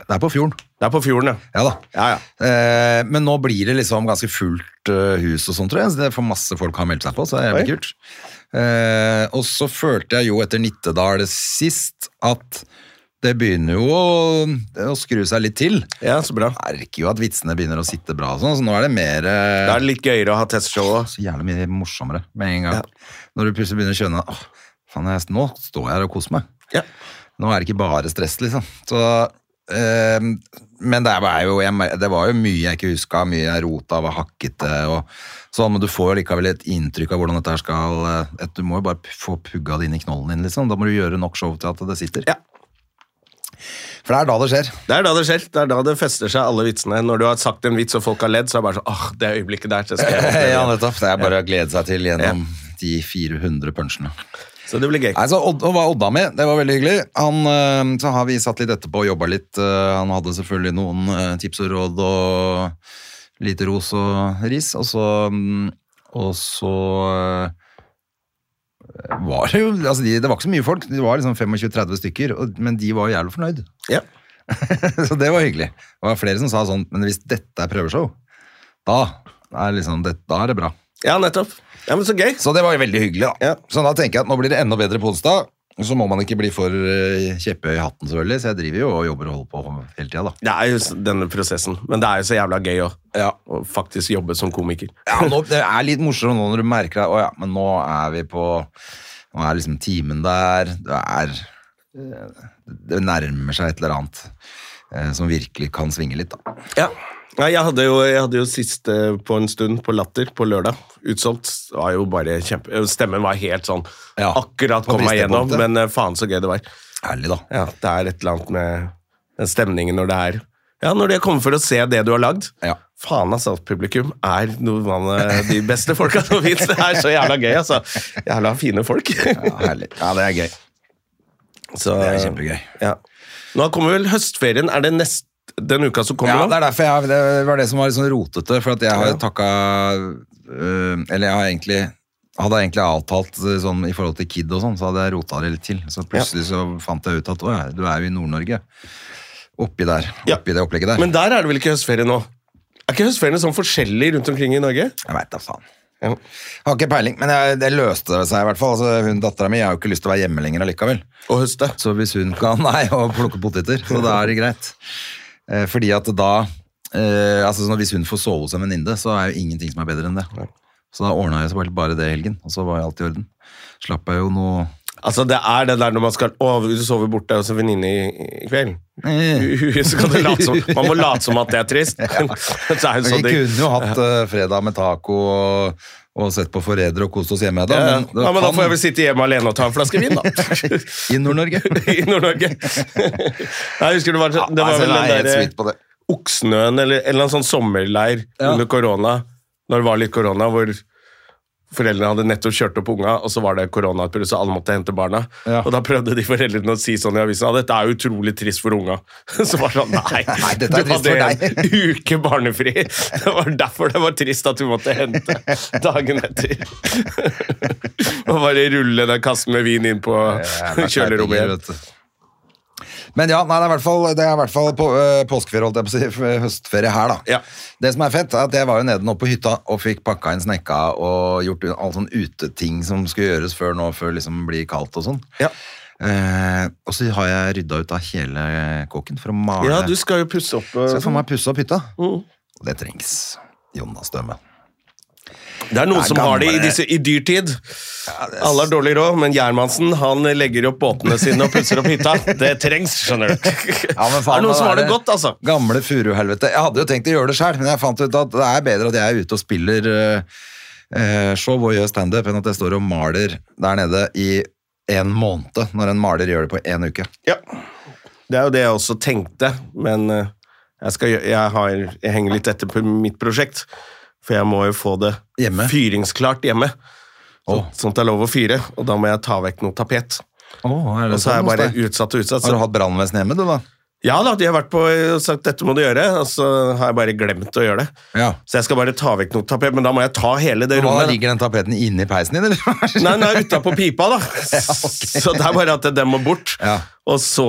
Speaker 2: Det er på fjorden.
Speaker 1: Det er på fjorden, ja.
Speaker 2: Ja da.
Speaker 1: Ja, ja.
Speaker 2: Eh, men nå blir det liksom ganske fullt eh, hus og sånt, tror jeg. Så det får masse folk har meldt seg på, så det er jævlig
Speaker 1: Oi.
Speaker 2: kult. Eh, og så følte jeg jo etter Nittedal sist at det begynner jo å, å skru seg litt til.
Speaker 1: Ja, så bra.
Speaker 2: Jeg merker jo at vitsene begynner å sitte bra og sånn, så nå er det mer eh,
Speaker 1: Da er det litt gøyere å ha testshow òg.
Speaker 2: så jævlig mye morsommere med en gang. Når du plutselig begynner å skjønne åh, faen, jeg, nå står jeg her og koser meg.
Speaker 1: Ja.
Speaker 2: Nå er det ikke bare stress, liksom. Så, ehm, men det var, jo, jeg, mer- det var jo mye jeg ikke huska, mye jeg rota, var hakkete og sånn, men du får jo likevel et inntrykk av hvordan dette her skal eh, at Du må jo bare p- få pugga det inn i knollen din, liksom. Da må du gjøre nok show til at det sitter.
Speaker 1: Ja.
Speaker 2: For det er da det skjer.
Speaker 1: Det er da det skjer. Det er da det fester seg, alle vitsene. Når du har sagt en vits og folk har ledd, så er det bare sånn Åh, det øyeblikket der. Det skal jeg
Speaker 2: Ja,
Speaker 1: oppleve igjen».
Speaker 2: nettopp. Det er bare å glede seg til gjennom de 400 punchene.
Speaker 1: Så det blir gøy.
Speaker 2: Nei, så Odd, og var Odda med, det var veldig hyggelig. Han, øh, så har vi satt litt etterpå og jobba litt. Øh, Han hadde selvfølgelig noen øh, tips og råd og lite ros og ris. Og så, mm, og så øh, var det jo altså de, Det var ikke så mye folk, det var liksom 25-30 stykker, og, men de var jo jævlig fornøyd.
Speaker 1: Ja.
Speaker 2: så det var hyggelig. Det var flere som sa sånn, men hvis dette er prøveshow, da er, liksom, det, da er det bra.
Speaker 1: ja, nettopp. Ja, men Så gøy.
Speaker 2: Så det var jo veldig hyggelig, da.
Speaker 1: Ja.
Speaker 2: Så da tenker jeg at nå blir det enda bedre på onsdag. Så må man ikke bli for eh, kjepphøy i hatten, selvfølgelig. Så jeg driver jo og jobber og holder på hele tida, da.
Speaker 1: Det er jo s- denne prosessen. Men det er jo så jævla gøy òg. Å faktisk jobbe som komiker.
Speaker 2: Ja, nå, det er litt morsomt nå når du merker at å ja, men nå er vi på Nå er liksom timen der. Det er Det nærmer seg et eller annet eh, som virkelig kan svinge litt, da.
Speaker 1: Ja. Nei, jeg hadde jo, jeg hadde jo siste på en stund på Latter på lørdag. Utsolgt. Det Var jo bare kjempe... eh, Stemmen var helt sånn
Speaker 2: Ja.
Speaker 1: Akkurat kom
Speaker 2: På
Speaker 1: meg gjennom,
Speaker 2: bristepunktet.
Speaker 1: men eh, faen så gøy det var.
Speaker 2: Herlig, da.
Speaker 1: Ja, Det er et eller annet med den stemningen når det er Ja, når de kommer for å se det du har lagd.
Speaker 2: Ja.
Speaker 1: Faen, altså. at Publikum er noen av de beste folka som fins. Det er så jævla gøy, altså. Jævla fine folk.
Speaker 2: Ja, herlig. Ja, det er gøy.
Speaker 1: Så,
Speaker 2: Det er kjempegøy.
Speaker 1: Ja. Nå kommer vel høstferien. Er det nest, den uka som kommer
Speaker 2: Ja, det
Speaker 1: nå?
Speaker 2: er derfor jeg, det var det som var litt sånn rotete, for at jeg har takka øh, Eller jeg har egentlig hadde jeg egentlig avtalt øh, sånn i forhold til KID og sånn, så hadde jeg rota det litt til. Så plutselig så fant jeg ut at å ja, du er jo i Nord-Norge. Oppi der.
Speaker 1: Ja.
Speaker 2: Oppi det opplegget der.
Speaker 1: Men der er det vel ikke høstferie nå? Er ikke høstferiene sånn forskjellig rundt omkring i Norge?
Speaker 2: Jeg veit da faen.
Speaker 1: Ja.
Speaker 2: Har ikke peiling, men jeg, det løste det seg i hvert fall. Altså, hun Dattera mi har jo ikke lyst til å være hjemme lenger allikevel.
Speaker 1: Og høste.
Speaker 2: Så hvis hun kan, nei, og plukke poteter, så da er det greit. Eh, Fordi at da, eh, altså sånn at hvis hun får sove hos en venninne, så er jo ingenting som er bedre enn det. Så da ordnet jeg så bare- bare det i helgen, og så var jeg alt i orden. Slapp jeg jo noe...
Speaker 1: Altså, det er det der når man skal Å, du sover borte hos en venninne i, i kveld.
Speaker 2: Eh,
Speaker 1: Så kan du late som, man må late som at det er trist. Så er det
Speaker 2: Vi
Speaker 1: sånn
Speaker 2: kunne
Speaker 1: ting.
Speaker 2: jo hatt eh, fredag med taco og, og sett på forredere og kost oss hjemme da,
Speaker 1: Ja, ja.
Speaker 2: men, det
Speaker 1: ja, men da
Speaker 2: kan-
Speaker 1: får jeg vel sitte hjemme alene og ta en flaske vin, da.
Speaker 2: I Nord-Norge.
Speaker 1: I Nord-Norge. Nei, jeg husker det var,
Speaker 2: Ja,
Speaker 1: det var
Speaker 2: altså,
Speaker 1: vel
Speaker 2: nei, jeg er
Speaker 1: den eh,
Speaker 2: helt
Speaker 1: derre
Speaker 2: sweet på det.
Speaker 1: Oksnøen eller en eller annen sånn sommerleir
Speaker 2: Ja.
Speaker 1: under korona, når det var litt korona, hvor foreldrene hadde nettopp kjørt opp unga, og så var det koronautbrudd, så alle måtte hente barna.
Speaker 2: Ja.
Speaker 1: Og da prøvde de foreldrene å si sånn i avisen, «Ja, dette er utrolig trist for unga. Så var det sånn, nei,
Speaker 2: Nei, dette er
Speaker 1: du
Speaker 2: trist for
Speaker 1: hadde en uke barnefri. Det var derfor det var trist at du måtte hente dagen etter. og bare rulle den kassen med vin inn på
Speaker 2: Jævla
Speaker 1: kjølerommet
Speaker 2: teipinger,
Speaker 1: igjen.
Speaker 2: vet du. Men ja, nei, det er i hvert fall, det er i hvert fall på, øh, påskeferie, holdt jeg på å si, f- eh, høstferie her da.
Speaker 1: Ja.
Speaker 2: Det som er fett er at jeg var jo nede nå på hytta og fikk pakka inn snekka og gjort u- alle sånne uteting som skulle gjøres før nå, før liksom blir kaldt og sånn.
Speaker 1: Ja.
Speaker 2: Eh, og så har jeg rydda ut av hele kåken for å male.
Speaker 1: Ja, du skal jo pusse opp.
Speaker 2: Så
Speaker 1: eh,
Speaker 2: jeg får meg pusse opp hytta.
Speaker 1: Mm.
Speaker 2: Og det trengs. Jonas Døme.
Speaker 1: Det er noen
Speaker 2: Det er
Speaker 1: som har det i,
Speaker 2: gamle-
Speaker 1: disse, i dyrtid. Alle har dårlig råd, men Gjermansen han legger opp båtene sine og pusser opp hytta. Det trengs, skjønner du.
Speaker 2: Ja, men
Speaker 1: det
Speaker 2: faen,
Speaker 1: er noen som
Speaker 2: da
Speaker 1: har det
Speaker 2: er det-
Speaker 1: godt, altså.
Speaker 2: Gamle furuhelvete. Jeg hadde jo tenkt å gjøre det sjøl, men jeg fant ut at det er bedre at jeg er ute og spiller eh, eh, show og gjør standup, enn at jeg står og maler der nede i en måned, når en maler gjør det på én uke.
Speaker 1: Ja. Det er jo det jeg også tenkte, men eh, jeg, skal, gjø- jeg, har, jeg henger litt etter på mitt prosjekt. For jeg må jo få det
Speaker 2: Hjemme?
Speaker 1: fyringsklart hjemme.
Speaker 2: Åh.
Speaker 1: Sånn at det er lov å fyre, og da må jeg ta vekk noe tapet.
Speaker 2: Åh, er det
Speaker 1: Og så
Speaker 2: sånn
Speaker 1: er jeg
Speaker 2: hos
Speaker 1: bare
Speaker 2: deg?
Speaker 1: utsatt og utsatt.
Speaker 2: Har du
Speaker 1: Så,
Speaker 2: hatt brannvesen hjemme, du, da?
Speaker 1: ja da, de har vært på og sagt 'dette må du gjøre', og så har jeg bare glemt å gjøre det.
Speaker 2: Ja.
Speaker 1: Så jeg skal bare ta vekk noe tapet, men da må jeg ta hele det
Speaker 2: Hva,
Speaker 1: rommet. da.
Speaker 2: ligger den tapeten inni peisen din, eller?
Speaker 1: Nei, den er utapå pipa, da. Så det er bare at den må bort.
Speaker 2: Ja.
Speaker 1: Og så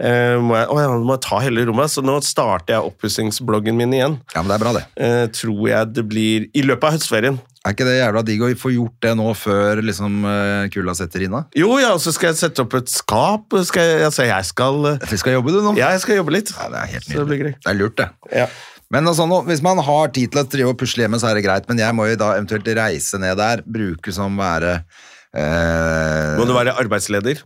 Speaker 1: eh, må jeg, å ja, nå må jeg ta hele rommet, så nå starter jeg oppussingsbloggen min igjen.
Speaker 2: Ja, men det er bra, det.
Speaker 1: Eh, tror jeg det blir i løpet av høstferien.
Speaker 2: Er ikke det jævla digg å få gjort det nå før liksom, eh, kulda setter inn? da?
Speaker 1: Jo, ja, og så skal jeg sette opp et skap. Skal jeg, altså, jeg skal eh,
Speaker 2: Vi skal jobbe, du, nå.
Speaker 1: Ja, jeg skal jobbe litt.
Speaker 2: Ja, det er helt
Speaker 1: Så det blir
Speaker 2: nydelig.
Speaker 1: greit.
Speaker 2: Det er lurt, det.
Speaker 1: Ja.
Speaker 2: Men altså, nå, hvis man har tid til å drive og pusle hjemme, så er det greit, men jeg må jo da eventuelt reise ned der, bruke som være eh,
Speaker 1: Må du være arbeidsleder?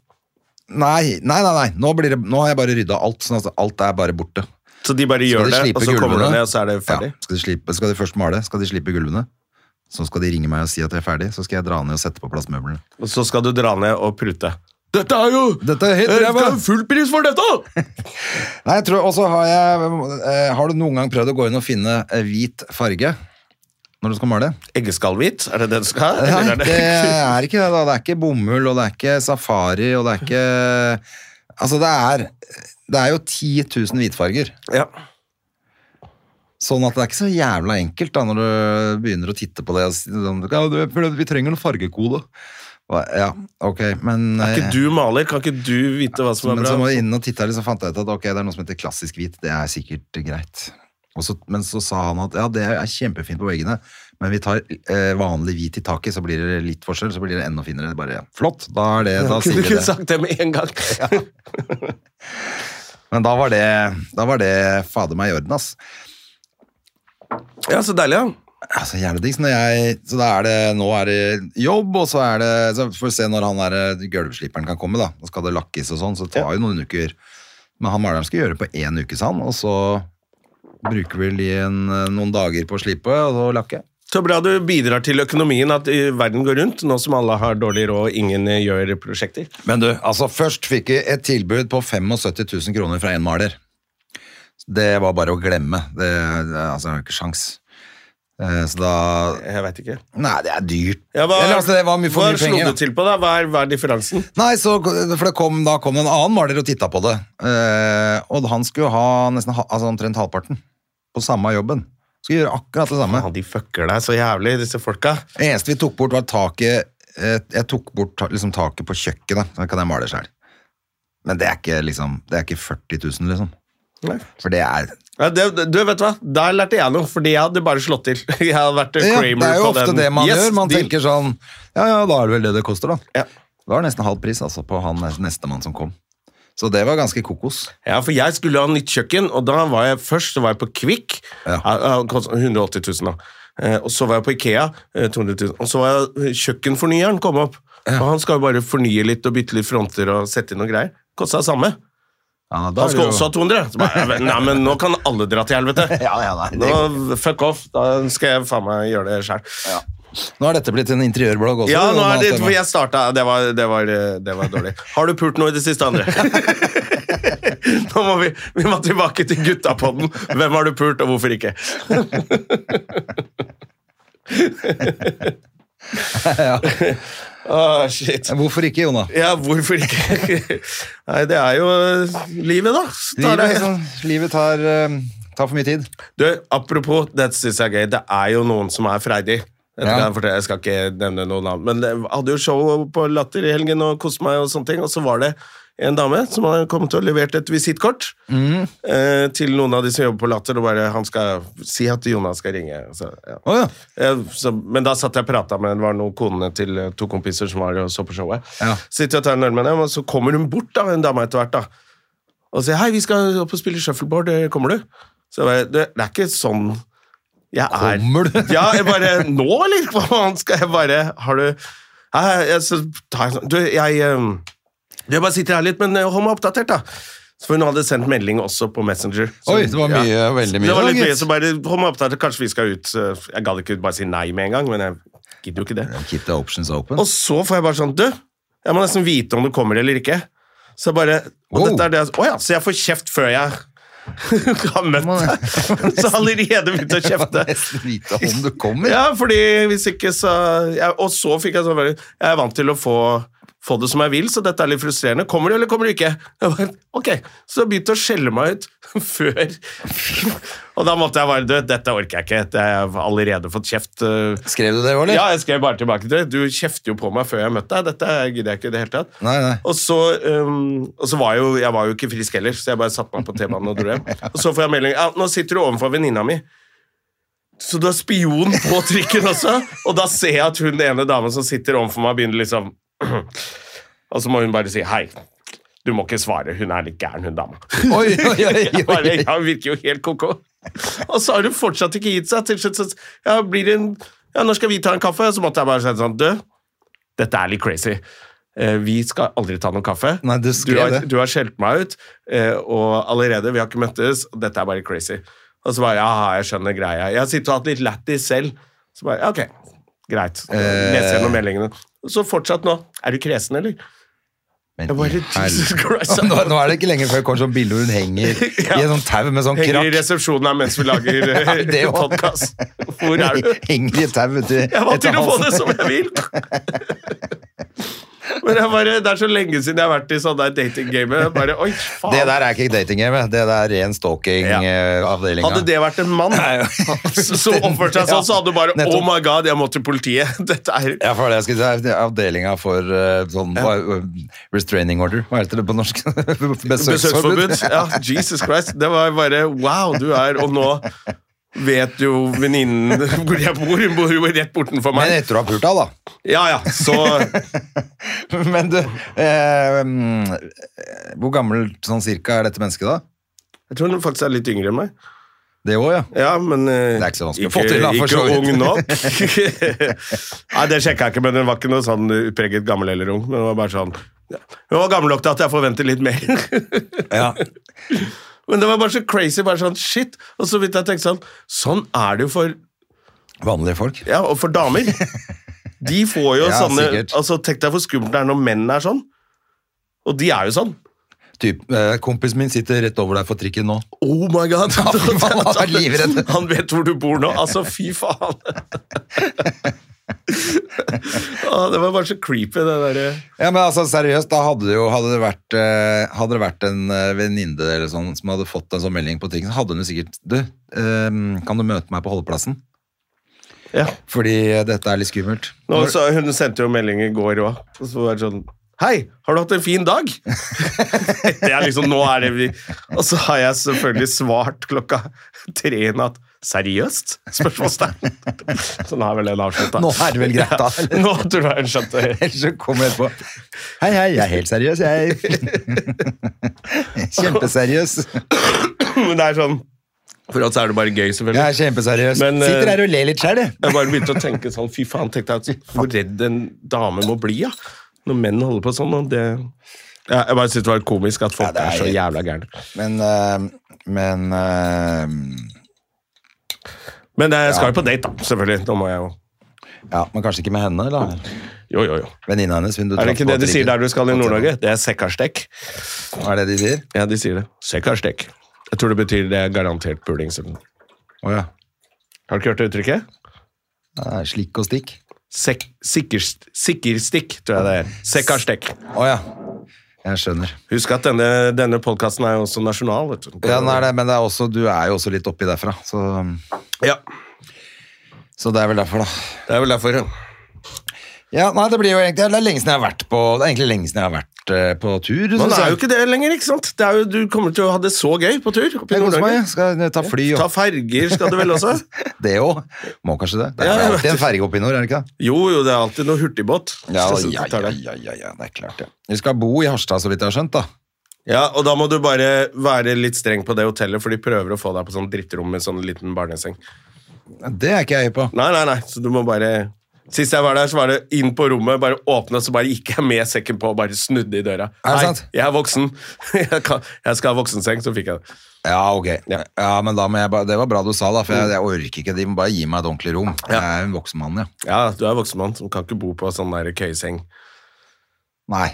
Speaker 2: Nei, nei, nei. nei. Nå, blir det, nå har jeg bare rydda alt, sånn at alt er bare borte.
Speaker 1: Så de bare
Speaker 2: Skal
Speaker 1: gjør
Speaker 2: de
Speaker 1: det,
Speaker 2: slipe
Speaker 1: og så kommer du
Speaker 2: gulvene?
Speaker 1: ned, og så er det ferdig?
Speaker 2: Ja. Skal, de slipe, skal de først male, skal de slipe gulvene, så skal de ringe meg og si at jeg er ferdig, så skal jeg dra ned og sette på plass møblene.
Speaker 1: Og så skal du dra ned og prute. Dette er jo
Speaker 2: Dette er helt
Speaker 1: Jeg
Speaker 2: ræva!
Speaker 1: skal ha full pris for dette!
Speaker 2: Eh, Nei, jeg tror også har jeg eh, Har du noen gang prøvd å gå inn og finne eh, hvit farge når du skal male?
Speaker 1: Eggeskallhvit, er det det du skal ha?
Speaker 2: Nei,
Speaker 1: eller er
Speaker 2: det er ikke det. da. Det er ikke bomull, og det er ikke safari, og det er ikke Altså, det er Det er jo 10 000 hvitfarger.
Speaker 1: Ja.
Speaker 2: Sånn at det er ikke så jævla enkelt da, når du begynner å titte på det. Og si, sånn, ja, du, for vi trenger en fargekode. Og, ja, ok, men
Speaker 1: Er ikke
Speaker 2: eh,
Speaker 1: du maler? Kan ikke du vite hva som er
Speaker 2: Men så
Speaker 1: bra? altså.
Speaker 2: må jeg inn og titte her, så fant jeg ut at ok, det er noe som heter klassisk hvit. Det er sikkert greit. Og så, men så sa han at ja, det er kjempefint på veggene, men vi tar eh, vanlig hvit i taket, så blir det litt forskjell, så blir det enda finere. Det er Bare, flott, da, er det, da sier
Speaker 1: Kunne du
Speaker 2: vi
Speaker 1: ikke
Speaker 2: det.
Speaker 1: sagt det med en gang?
Speaker 2: Men da var det, da var det fader meg i orden, ass.
Speaker 1: Ja, så deilig, ja.
Speaker 2: Ja, så jævlig digg. Så, når jeg, så da er det, nå er det jobb, og så er det Så får vi se når han der eh, gulvsliperen kan komme, da. Da skal det lakkes og sånn, så det tar jo noen uker. Men han maleren skal gjøre det på én uke, sa han, og så bruker vi vel i en, noen dager på å slipe, og så lakke.
Speaker 1: Så bra du bidrar til økonomien, at eh, verden går rundt, nå som alle har dårlig råd og ingen eh, gjør prosjekter.
Speaker 2: Men du, altså først fikk vi et tilbud på 75 000 kroner fra en maler. Det var bare å glemme. Det, det altså, det er ikke sjans. Eh, Så da
Speaker 1: Jeg veit ikke.
Speaker 2: Nei, det er dyrt.
Speaker 1: Ja, hva
Speaker 2: Eller, altså, det var mye for
Speaker 1: hva
Speaker 2: mye penger.
Speaker 1: slo
Speaker 2: da.
Speaker 1: du til på, da? Hva er, hva er differansen?
Speaker 2: Nei, så, for det kom, da kom det en annen maler og titta på det. Eh, og han skulle ha nesten ha- altså omtrent halvparten på samme jobben. Skulle gjøre akkurat det samme.
Speaker 1: Faen, de fucker deg så jævlig, disse folka.
Speaker 2: Det eneste vi tok bort, var taket eh, Jeg tok bort ta- liksom, taket på kjøkkenet. Så kan jeg male sjøl. Men det er, ikke, liksom, det er ikke 40 000, liksom.
Speaker 1: Nei.
Speaker 2: For det er
Speaker 1: Ja, det, du vet du hva, Der lærte jeg noe, fordi jeg hadde bare slått til. Jeg hadde vært eh,
Speaker 2: ja,
Speaker 1: Kramer
Speaker 2: Det er jo
Speaker 1: på
Speaker 2: ofte
Speaker 1: den.
Speaker 2: det man
Speaker 1: Yes,
Speaker 2: gjør. Man
Speaker 1: deal.
Speaker 2: tenker sånn Ja, ja, da er det vel det det koster, da.
Speaker 1: Ja.
Speaker 2: Det var nesten halv pris altså, på han nestemann som kom. Så det var ganske kokos.
Speaker 1: Ja, for jeg skulle ha nytt kjøkken, og da var jeg først så var jeg på Kvikk.
Speaker 2: Ja.
Speaker 1: Ja, det kostet 180 000, da. Eh, Og så var jeg på Ikea. eh, 200 000. Og så var jeg eh, kjøkkenfornyeren kom opp. Og han skal jo bare fornye litt og bytte litt fronter og sette inn noen greier. Kosta det samme.
Speaker 2: Ja, da
Speaker 1: Han
Speaker 2: er det
Speaker 1: skal
Speaker 2: jo-
Speaker 1: også ha 200. Så bare, jeg, nei, men nå kan alle dra til helvete.
Speaker 2: Ja, ja, nei, det
Speaker 1: Nå, fuck off. Da skal jeg faen meg gjøre det sjøl.
Speaker 2: Nå har dette blitt en interiørblogg også.
Speaker 1: Ja, nå
Speaker 2: Jonas
Speaker 1: er det,
Speaker 2: Tema.
Speaker 1: for jeg starta det var, det, var, det var dårlig. Har du pult noe i det siste, André? nå må vi, vi må tilbake til guttapodden. Hvem har du pult, og hvorfor ikke? Åh, shit.
Speaker 2: Hvorfor ikke, Jona?
Speaker 1: Ja, hvorfor ikke? Nei, det er jo livet, liksom. da. Tar
Speaker 2: Livet,
Speaker 1: deg-
Speaker 2: sånn- livet tar, eh, tar for mye tid.
Speaker 1: Du, apropos, det synes jeg er gøy. Det er jo noen som er freidig. Jeg,
Speaker 2: Ja.
Speaker 1: skal fortelle, jeg skal ikke nevne noen navn, men jeg hadde jo show på Latter i helgen og koste meg og sånne ting, og så var det en dame som hadde kommet og levert et visittkort eh, til noen av de som jobber på Latter, og bare han skal si at Jonas skal ringe. altså. Så, ja.
Speaker 2: Å ja.
Speaker 1: Eh, Så, men da satt jeg og prata med det var noen konene til eh, to kompiser som var og så på showet.
Speaker 2: Ja.
Speaker 1: Så sitter jeg og tar en øl med dem, og så kommer hun bort, da, en dame etter hvert, da. og sier 'hei, vi skal opp og spille shuffleboard, eh, kommer du?' Så jeg bare, det, det er ikke sånn jeg er.
Speaker 2: Kommer du?
Speaker 1: ja, jeg bare 'Nå, eller?' Hva faen skal jeg bare Har du Hei, jeg, så tar jeg sånn Du, jeg eh, jeg bare sitter her litt, men eh, hold meg oppdatert, da. Så For hun hadde sendt melding også på Messenger. Så-
Speaker 2: Oi, det var mye, veldig mye.
Speaker 1: Det var litt
Speaker 2: da,
Speaker 1: mye,
Speaker 2: gitt.
Speaker 1: så bare hold meg opptatt. Kanskje vi skal ut. eh, Jeg gadd ikke bare si nei med en gang, men jeg gidder jo ikke det.
Speaker 2: Keep the options open.
Speaker 1: Og så får jeg bare sånn, du, jeg må nesten vite om du kommer eller ikke. Så jeg bare, og
Speaker 2: Wow.
Speaker 1: dette er det, jeg- å ja, så jeg får kjeft før jeg Du har møtt deg. Så allerede begynte å
Speaker 2: Jeg må
Speaker 1: kjefte.
Speaker 2: nesten vite om du kommer.
Speaker 1: Ja, fordi hvis ikke så ja, Og så fikk jeg sånn veldig- Jeg er vant til å få, få det som jeg vil, så dette er litt frustrerende. Kommer du, eller kommer du ikke? Jeg bare, ok, Så jeg begynte å skjelle meg ut før Og da måtte jeg bare Du, dette orker jeg ikke. Det- Jeg har allerede fått kjeft. øh,
Speaker 2: Skrev du det, eller?
Speaker 1: Ja, jeg skrev bare tilbake til det. Du kjefter jo på meg før jeg møtte deg. Dette gidder jeg ikke i det hele tatt.
Speaker 2: Nei, nei.
Speaker 1: Og så, øhm, og så var jeg, jo, jeg var jo ikke frisk heller, så jeg bare satte meg på T-banen og dro hjem. Og så får jeg melding ja, nå sitter du overfor venninna mi. Så du er spion på trikken også? Og da ser jeg at hun ene dama som sitter overfor meg, begynner liksom Og så må hun bare si hei. Du må ikke svare, hun er litt gæren, hun dama.
Speaker 2: Oi, oi, oi,
Speaker 1: Jeg
Speaker 2: oi.
Speaker 1: bare, ja, hun virker jo helt ko-ko. Og så har hun fortsatt ikke gitt seg. Til slutt så ja, blir det en Ja, når skal vi ta en kaffe? Så måtte jeg bare si sånn Du, dette er litt crazy. Eh, Vi skal aldri ta noen kaffe.
Speaker 2: Nei, du skrev
Speaker 1: har,
Speaker 2: det.
Speaker 1: du har skjelt meg ut, eh, og allerede, vi har ikke møttes, og dette er bare crazy. Og så bare Ja, jeg skjønner greia. Jeg har sittet og hatt litt lættis selv. Så bare ja, Ok, greit.
Speaker 2: Eh.
Speaker 1: Leser gjennom meldingene. Og Så fortsatt nå. Er du kresen, eller?
Speaker 2: Men
Speaker 1: Jeg bare,
Speaker 2: i
Speaker 1: Jesus
Speaker 2: helvete.
Speaker 1: Christ.
Speaker 2: Nå, nå er det ikke lenger før det kommer sånn bilde hvor hun henger i en sånn tau med sånn
Speaker 1: Henger i
Speaker 2: krakk.
Speaker 1: resepsjonen her mens vi lager
Speaker 2: Ja, det
Speaker 1: eh,
Speaker 2: jo.
Speaker 1: podcast. Hvor er du?
Speaker 2: Henger i et tau, vet du.
Speaker 1: Jeg vant til å få
Speaker 2: etter
Speaker 1: det som jeg vil! Men jeg bare, Det er så lenge siden jeg har vært i sånn der datinggame. Jeg Bare, oi,
Speaker 2: halsen.
Speaker 1: faen.
Speaker 2: Det der er ikke dating game, det der er ren eh,
Speaker 1: Ja.
Speaker 2: stalking-avdelinga.
Speaker 1: Hadde det vært en mann som oppførte seg sånn, så hadde du bare
Speaker 2: Nettopp.
Speaker 1: Oh my god, jeg må til politiet. Dette er
Speaker 2: Ja, for det jeg skulle si, det er avdelinga for eh, sånn hva- restraining order. Hva heter det på norsk?
Speaker 1: besøksforbud. Ja, Jesus Christ. Det var bare Wow, du er Og nå vet jo venninnen hvor jeg bor. Hun bor jo rett bortenfor
Speaker 2: Men
Speaker 1: meg.
Speaker 2: etter å ha pult henne, da.
Speaker 1: Ja, ja, så
Speaker 2: Men du, eh, mm, hvor gammel sånn cirka er dette mennesket da?
Speaker 1: Jeg tror hun faktisk er litt yngre enn meg.
Speaker 2: Det òg, ja.
Speaker 1: Ja, men eh,
Speaker 2: Det er ikke så vanskelig å få til, da, for
Speaker 1: Ikke
Speaker 2: så vidt.
Speaker 1: ung nok. Nei, det sjekka jeg ikke, men hun var ikke noe sånn utpreget gammel eller ung. Men hun var bare sånn ja. Hun var gammel nok til at jeg forventer litt mer. Men det var bare så crazy. bare sånn, shit. Og så vidt jeg tenkte sånn Sånn er det jo for
Speaker 2: Vanlige folk.
Speaker 1: Ja, og for damer. De får jo
Speaker 2: Ja,
Speaker 1: sånne
Speaker 2: sikkert.
Speaker 1: altså Tenk deg hvor skummelt det er når menn er sånn. Og de er jo sånn.
Speaker 2: Typ, eh, kompisen min sitter rett over deg for trikken nå.
Speaker 1: Oh my god!
Speaker 2: han er livredd.
Speaker 1: Han vet hvor du bor nå. Altså, fy faen! Å, det var bare så creepy, det derre
Speaker 2: Ja, men altså, seriøst, da hadde det jo hadde det vært, eh, hadde det vært en eh, venninne eller sånn som hadde fått en sånn melding på trikken, så hadde hun jo sikkert Du, eh, kan du møte meg på holdeplassen?
Speaker 1: ja.
Speaker 2: Fordi eh, dette er litt skummelt.
Speaker 1: Nå, så, Hun sendte jo melding i går òg. Og så var det sånn Hei, har du hatt en fin dag? det er liksom, nå er det vi Og så har jeg selvfølgelig svart klokka tre i natt. Seriøst? Spørsmålstegn. Sånn er vel den avslutta.
Speaker 2: Nå er det vel greit, da.
Speaker 1: Ja, nå tror jeg hun skjønte det.
Speaker 2: Ellers så kommer jeg på Hei, hei, jeg er helt seriøs, jeg. kjempeseriøs.
Speaker 1: Men det er sånn For oss er det bare gøy, selvfølgelig.
Speaker 2: Jeg er kjempeseriøs.
Speaker 1: Men, eh,
Speaker 2: Sitter her og ler litt sjæl, jeg.
Speaker 1: Jeg bare begynte å tenke sånn, fy faen, tenkte jeg at hvor redd en dame må bli, ja. Når menn holder på sånn, og det... Ja, jeg bare synes det var komisk at folk
Speaker 2: Ja, det er
Speaker 1: er, så
Speaker 2: helt-
Speaker 1: jævla gærne.
Speaker 2: Men, eh, men eh,
Speaker 1: Men eh, jeg skal jo på date, da, selvfølgelig. Nå må jeg jo...
Speaker 2: Ja, men kanskje ikke med henne, da.
Speaker 1: Jo, jo, jo.
Speaker 2: Venninna hennes. hun du
Speaker 1: Er det
Speaker 2: traff
Speaker 1: ikke
Speaker 2: på
Speaker 1: det de sier
Speaker 2: trikken.
Speaker 1: der du skal i Nord-Norge? Det er sekkarstek.
Speaker 2: Er det de sier?
Speaker 1: Ja, de sier det. Sekkarstek. Jeg tror det betyr det er garantert puling.
Speaker 2: Å
Speaker 1: Har
Speaker 2: ja.
Speaker 1: du ikke hørt det uttrykket?
Speaker 2: Det er Slikk og stikk.
Speaker 1: Sek sikkerst- sikkerstikk, tror jeg det er. Sekkarstek.
Speaker 2: Å ja. Jeg skjønner.
Speaker 1: Husk at denne, denne podcasten er jo også nasjonal, vet du.
Speaker 2: Ja, nei, nei, men det er også, du er jo også litt oppi derfra, så,
Speaker 1: Ja,
Speaker 2: så det er vel derfor, da.
Speaker 1: det er vel derfor, ja.
Speaker 2: Ja, nei, Det blir jo egentlig, det er lenge siden jeg har vært på Det er egentlig lenge siden jeg har vært eh, på tur.
Speaker 1: Man
Speaker 2: synes
Speaker 1: er
Speaker 2: jeg.
Speaker 1: jo ikke det lenger, ikke sant? Det er jo, du kommer til å ha det så gøy på tur. oppe i
Speaker 2: Jeg koser meg.
Speaker 1: Nord-Norge.
Speaker 2: jeg. Skal ta fly
Speaker 1: Ta
Speaker 2: og
Speaker 1: ferger skal du vel også?
Speaker 2: det òg. Må kanskje det. Det er
Speaker 1: Ja, jeg
Speaker 2: alltid en ferge oppi nord, er det ikke det?
Speaker 1: Jo, jo, det er alltid noe hurtigbåt.
Speaker 2: Ja,
Speaker 1: Så- så
Speaker 2: ja,
Speaker 1: tar
Speaker 2: ja,
Speaker 1: det.
Speaker 2: ja, ja, ja, det er klart, ja. Vi skal bo i Harstad, så vidt jeg har skjønt, da.
Speaker 1: ja, og da må du bare være litt streng på det hotellet, for de prøver å få deg på sånn drittrom med sånn liten barneseng.
Speaker 2: Det er ikke jeg høy på.
Speaker 1: Nei, nei, nei, så du må bare... Sist jeg var der, så var det inn på rommet, bare åpne, så bare gikk jeg med sekken på og bare snudde i døra.
Speaker 2: Er det
Speaker 1: Hei,
Speaker 2: sant?
Speaker 1: jeg er voksen. Jeg, kan, jeg skal ha voksenseng, så fikk jeg det.
Speaker 2: Ja, ok. Ja.
Speaker 1: Ja. Mm.
Speaker 2: men da må jeg bare, Det var bra du sa, da, for jeg, jeg orker ikke. De må bare gi meg et ordentlig rom. Jeg er en voksen mann, ja.
Speaker 1: Ja, du er voksen mann, så du kan ikke bo på sånn der køyseng.
Speaker 2: Nei.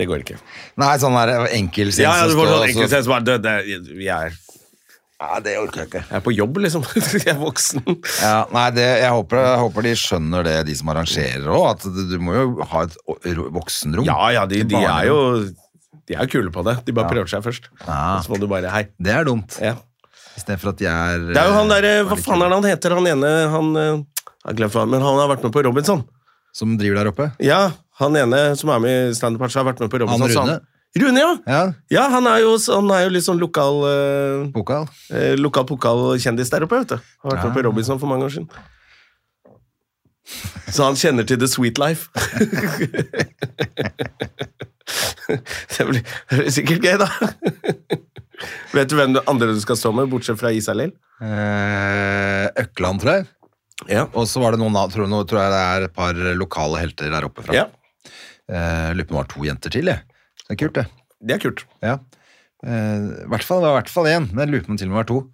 Speaker 1: Det går ikke.
Speaker 2: Nei, sånn der enkel
Speaker 1: Ja, ja, du
Speaker 2: som står,
Speaker 1: får sånn
Speaker 2: og så-
Speaker 1: enkeltsens bare død. det- Vi er,
Speaker 2: Nei, det orker jeg ikke.
Speaker 1: jeg er på jobb, liksom. Jeg er voksen.
Speaker 2: Ja, nei, det, jeg, håper, jeg håper de skjønner det, de som arrangerer òg. At du, du må jo ha et o- ro- voksenrom.
Speaker 1: Ja, ja, de, de er jo
Speaker 2: Barnerom.
Speaker 1: De er jo kule på det. De bare prøver seg først.
Speaker 2: Ja.
Speaker 1: Og Så må du bare Hei.
Speaker 2: Det er dumt.
Speaker 1: Ja.
Speaker 2: Istedenfor at de er
Speaker 1: Det er jo han derre Hva faen er det han heter, han ene Han eh, jeg har glemt hva han- Men han har vært med på Robinson.
Speaker 2: Som driver der oppe?
Speaker 1: Ja, han ene som er med i Standup Party, har vært med på Robinson.
Speaker 2: Han Rune?
Speaker 1: så Rune, ja. ja.
Speaker 2: Ja,
Speaker 1: han, er jo, han er jo litt sånn lokal eh,
Speaker 2: pokal.
Speaker 1: eh, Lokal pokalkjendis der oppe, vet du. Har vært med på Robinson for mange år siden. Så han kjenner til the sweet life. det, blir, det blir sikkert gøy, da. Vet du hvem du- andre du skal stå med, bortsett fra Isalill?
Speaker 2: Eh, Økland, tror jeg.
Speaker 1: Ja.
Speaker 2: Og så var det noen av- tror, nå tror jeg det er et par lokale helter der oppe fra.
Speaker 1: ja.
Speaker 2: Eh, lurer på om det var to jenter til, jeg. Det er kult, det.
Speaker 1: Det er kult.
Speaker 2: Ja. Eh, i hvert fall, det var i hvert fall én, men jeg lurer på om det til og med var to.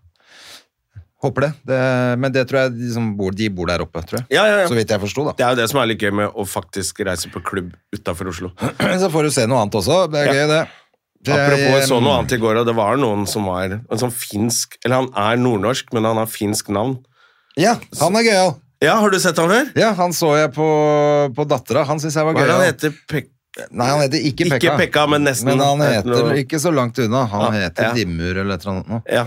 Speaker 2: Håper det. det men det tror jeg de, som bor, de bor der oppe, tror jeg.
Speaker 1: Ja, ja, ja.
Speaker 2: Så vidt jeg forsto, da.
Speaker 1: Det er jo det som er litt gøy med å faktisk reise på klubb utafor Oslo.
Speaker 2: Så får du se noe annet også. Det er
Speaker 1: Ja.
Speaker 2: gøy, det. Det er-
Speaker 1: Apropos, jeg så noe annet i går, og det var noen som var en sånn finsk Eller han er nordnorsk, men han har finsk navn.
Speaker 2: Ja, han er gøyal.
Speaker 1: Ja, har du sett han før?
Speaker 2: Ja, han så jeg på, på dattera. Han syns jeg var
Speaker 1: Hva er det
Speaker 2: gøyal.
Speaker 1: han heter? Pek
Speaker 2: Nei, han heter ikke
Speaker 1: Ikke
Speaker 2: Pekka.
Speaker 1: Pekka, men nesten.
Speaker 2: Men han
Speaker 1: Heter
Speaker 2: heter
Speaker 1: noe-
Speaker 2: ikke så langt unna. Han
Speaker 1: Ja,
Speaker 2: heter
Speaker 1: ja.
Speaker 2: Dimur eller et eller annet. nå.
Speaker 1: Ja.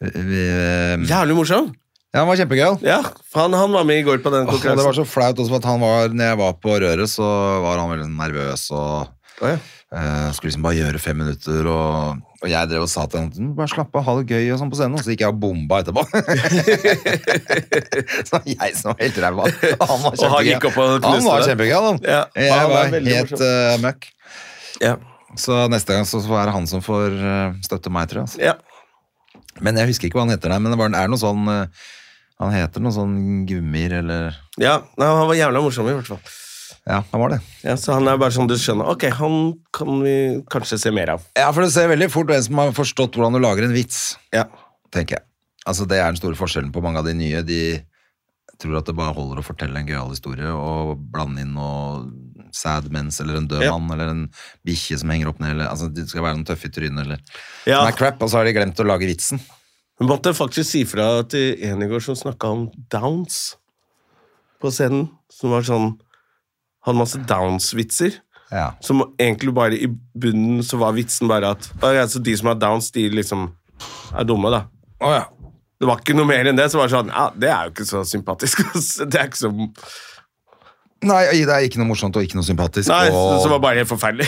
Speaker 2: Vi- eh, Ja,
Speaker 1: Jævlig morsom!
Speaker 2: han var kjempegøyal.
Speaker 1: Ja, faen, han var med i går på
Speaker 2: Åh,
Speaker 1: den
Speaker 2: Og det var
Speaker 1: konkurransen.
Speaker 2: så flaut også for at han var, når jeg var på røret, så var han veldig nervøs og
Speaker 1: Å, ja.
Speaker 2: eh, skulle liksom bare gjøre fem minutter. Og, og jeg drev og sa til han bare slapp av, ha det gøy og sånn på scenen. Og så gikk jeg og bomba etterpå. så det var jeg som var helt ræva. Han var
Speaker 1: Og han gikk opp og
Speaker 2: kjempegøy. Han var
Speaker 1: knuste deg.
Speaker 2: kjempegøy, han.
Speaker 1: Ja, han
Speaker 2: jeg
Speaker 1: var
Speaker 2: var
Speaker 1: veldig
Speaker 2: helt
Speaker 1: morsom.
Speaker 2: eh, møkk.
Speaker 1: Ja.
Speaker 2: Så neste gang så så er det han som får eh, støtte meg, tror jeg. Altså.
Speaker 1: ja.
Speaker 2: Men jeg husker ikke hva han heter der, men det var, er noe sånn eh, Han heter noe sånn gummier eller
Speaker 1: ja. Nei, han var jævla morsom, i hvert fall.
Speaker 2: Ja, han var det.
Speaker 1: Ja, så han er bare sånn du skjønner Ok, han kan vi kanskje se mer av.
Speaker 2: Ja, for det ser veldig fort en som har forstått hvordan du lager en vits,
Speaker 1: Ja.
Speaker 2: tenker jeg. Altså, det er den store forskjellen på mange av de nye. De tror at det bare holder å fortelle en gøyal historie og blande inn noe sad mens eller en død
Speaker 1: Ja.
Speaker 2: mann eller en bikkje som henger opp ned, eller altså, det skal være noen tøffe i trynet eller
Speaker 1: Ja.
Speaker 2: Som er crap, og så har de glemt å lage vitsen.
Speaker 1: Hun måtte faktisk si fra til en i går som snakka om downs på scenen. Som var sånn Hadde masse downs-vitser.
Speaker 2: Ja.
Speaker 1: Som egentlig bare i bunnen så var vitsen bare at «Å ja, så de som har downs, de liksom er dumme, da.
Speaker 2: Å ja.
Speaker 1: Det var ikke noe mer enn det. Så var det sånn Ja, det er jo ikke så sympatisk. ass. det er ikke så Nei,
Speaker 2: Nei, det er ikke noe morsomt og ikke noe sympatisk.
Speaker 1: så,
Speaker 2: og,
Speaker 1: så var det bare helt forferdelig.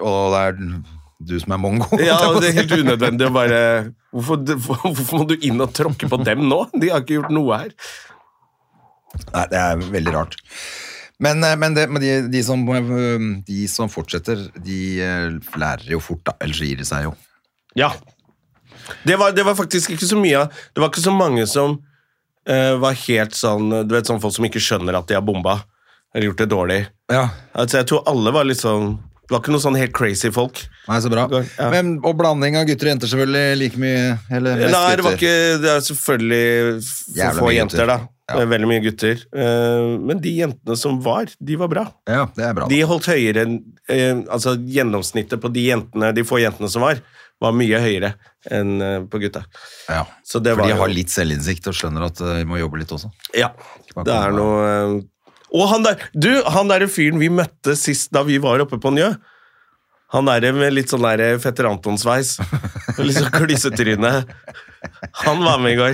Speaker 2: og, det er, og det er du som er mongo.
Speaker 1: Ja, og det er helt unødvendig å bare hvorfor, hvorfor må du inn og tråkke på dem nå? De har ikke gjort noe her.
Speaker 2: Nei, det er veldig rart. Men, eh, men, det, men de, de, som, eh, de som fortsetter, de eh, lærer jo fort, da. Ellers gir de seg jo.
Speaker 1: Ja. Det var, det var faktisk ikke så mye av Det var ikke så mange som eh, var helt sånn Du vet sånn folk som ikke skjønner at de har bomba eller gjort det dårlig.
Speaker 2: Ja.
Speaker 1: Altså, jeg tror alle var litt sånn Det var ikke noen sånn helt crazy folk.
Speaker 2: Nei, så bra.
Speaker 1: Ja.
Speaker 2: Men, og blanding av gutter og jenter selvfølgelig like mye, eller mest
Speaker 1: Nei, det var
Speaker 2: gutter.
Speaker 1: ikke Det er selvfølgelig for
Speaker 2: Jævla
Speaker 1: få
Speaker 2: mye gutter.
Speaker 1: jenter, da.
Speaker 2: Ja.
Speaker 1: Det er Veldig mye gutter. Eh, men de jentene som var, de var bra.
Speaker 2: Ja, det er bra.
Speaker 1: De holdt høyere enn eh, Altså, gjennomsnittet på de jentene, de få jentene som var, var mye høyere enn eh, på gutta.
Speaker 2: da. ja.
Speaker 1: Så det
Speaker 2: For
Speaker 1: var
Speaker 2: de
Speaker 1: jo-
Speaker 2: har litt selvinnsikt og skjønner at eh, vi må jobbe litt også.
Speaker 1: Ja,
Speaker 2: bare
Speaker 1: det er
Speaker 2: komme
Speaker 1: noe eh, Og han der, du, han der fyren vi møtte sist da vi var oppe på Njø Han der med litt sånn der Fetter Antonsveis og Litt sånn klysetryne Han var med i går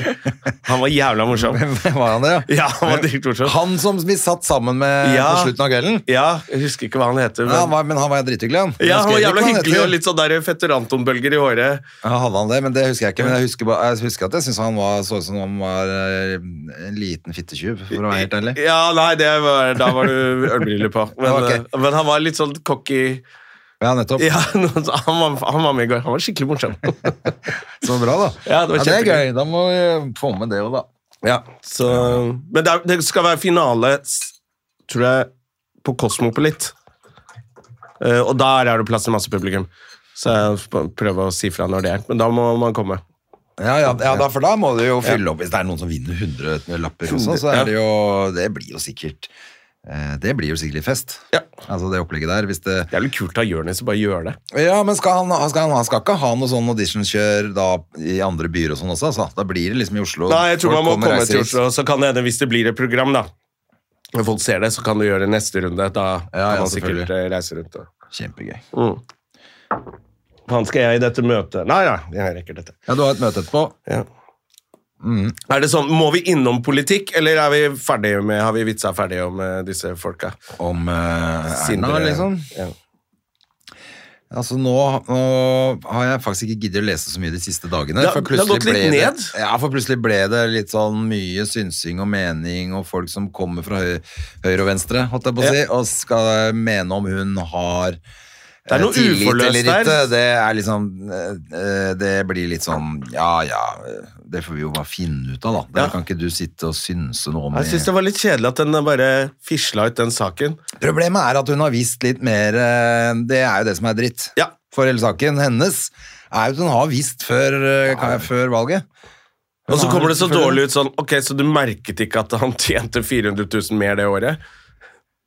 Speaker 1: Han var jævla morsom
Speaker 2: Var han det, ja?
Speaker 1: Ja, han var dritmorsom. morsom
Speaker 2: Han som vi satt sammen med
Speaker 1: Ja.
Speaker 2: på slutten av kvelden?
Speaker 1: Ja, jeg husker ikke hva han heter
Speaker 2: Ja, han
Speaker 1: men...
Speaker 2: var, men han var drithyggelig, han.
Speaker 1: Ja, han var
Speaker 2: Jeg husker
Speaker 1: jævla
Speaker 2: ikke hva
Speaker 1: hyggelig
Speaker 2: heter.
Speaker 1: og litt sånn der Fetter Anton-bølger i håret
Speaker 2: Ja, hadde han det, men det husker jeg ikke. Men jeg husker, bare- jeg husker at jeg syns han var, så ut som han var eh, en liten fittetjuv, for å være helt ærlig.
Speaker 1: Ja, nei, det var, da var du ølbriller på men,
Speaker 2: Ok.
Speaker 1: eh, men han var litt sånn cocky
Speaker 2: Ja, nettopp.
Speaker 1: Ja, han var, han var med i går Han var skikkelig morsom
Speaker 2: Så bra, da.
Speaker 1: Ja, det var
Speaker 2: er
Speaker 1: kjempegøy.
Speaker 2: gøy. Da må vi få med det òg, da.
Speaker 1: Ja, så, men det, er, det skal være finale, s- tror jeg, på Kosmopolit. Eh, og der er det plass til masse publikum. Så jeg sp- prøver å si fra når det er. Men da må man komme.
Speaker 2: Ja, ja, ja da, for da må du jo fylle opp. Hvis det er noen som vinner 100 lapper også, så er det jo Det blir jo sikkert Eh, Det blir jo sikkert litt fest.
Speaker 1: Ja.
Speaker 2: Altså det opplegget der, hvis det...
Speaker 1: Det er vel kult av Jonis å bare gjøre det.
Speaker 2: Ja, men skal han, han skal, han, han skal ikke ha noe sånn auditionkjør da i andre byer og sånn også, altså. Da blir det liksom i Oslo.
Speaker 1: Nei, jeg tror
Speaker 2: Folk
Speaker 1: man må
Speaker 2: kommer,
Speaker 1: komme
Speaker 2: reiser
Speaker 1: til
Speaker 2: hit.
Speaker 1: Oslo, så kan det hende hvis det blir et program, da. Når folk ser det, så kan du gjøre det neste runde. Da
Speaker 2: ja,
Speaker 1: kan man sikkert
Speaker 2: selvfølgelig.
Speaker 1: eh, reise rundt. Og. Mm.
Speaker 2: Kjempegøy.
Speaker 1: Faen, skal jeg i dette møtet? Nei, nei, jeg rekker dette.
Speaker 2: Ja, du har et møte etterpå. Mm.
Speaker 1: Er det sånn, Må vi innom politikk, eller er vi ferdige med, har vi vitsa ferdig om eh, disse folka?
Speaker 2: Om eh, Erna,
Speaker 1: Sindre-
Speaker 2: liksom.
Speaker 1: Ja.
Speaker 2: Altså nå, nå har jeg faktisk ikke giddet å lese så mye de siste dagene.
Speaker 1: Det har-
Speaker 2: for plutselig
Speaker 1: det har gått litt
Speaker 2: ble
Speaker 1: ned.
Speaker 2: Det, ja, for plutselig ble det litt sånn mye synsing og mening, og folk som kommer fra høy, høyre og venstre, holdt jeg på å si, og skal mene om hun har
Speaker 1: Det
Speaker 2: Eh,
Speaker 1: er noe uforløst der.
Speaker 2: Det er liksom eh, Det blir litt sånn Ja, ja, det får vi jo bare finne ut av, da. Det
Speaker 1: Ja.
Speaker 2: kan ikke du sitte og synse noe om.
Speaker 1: Jeg
Speaker 2: i-
Speaker 1: syns det var litt kjedelig at den bare fisla ut den saken.
Speaker 2: Problemet er at hun har visst litt mer eh, Det er jo det som er dritt.
Speaker 1: Ja.
Speaker 2: For hele saken hennes er jo at hun har visst før, eh, kan jeg- før valget.
Speaker 1: Og så
Speaker 2: Ja,
Speaker 1: kommer det så
Speaker 2: selvfølgelig.
Speaker 1: dårlig ut sånn Ok, så du merket ikke at han tjente 400 000 mer det året?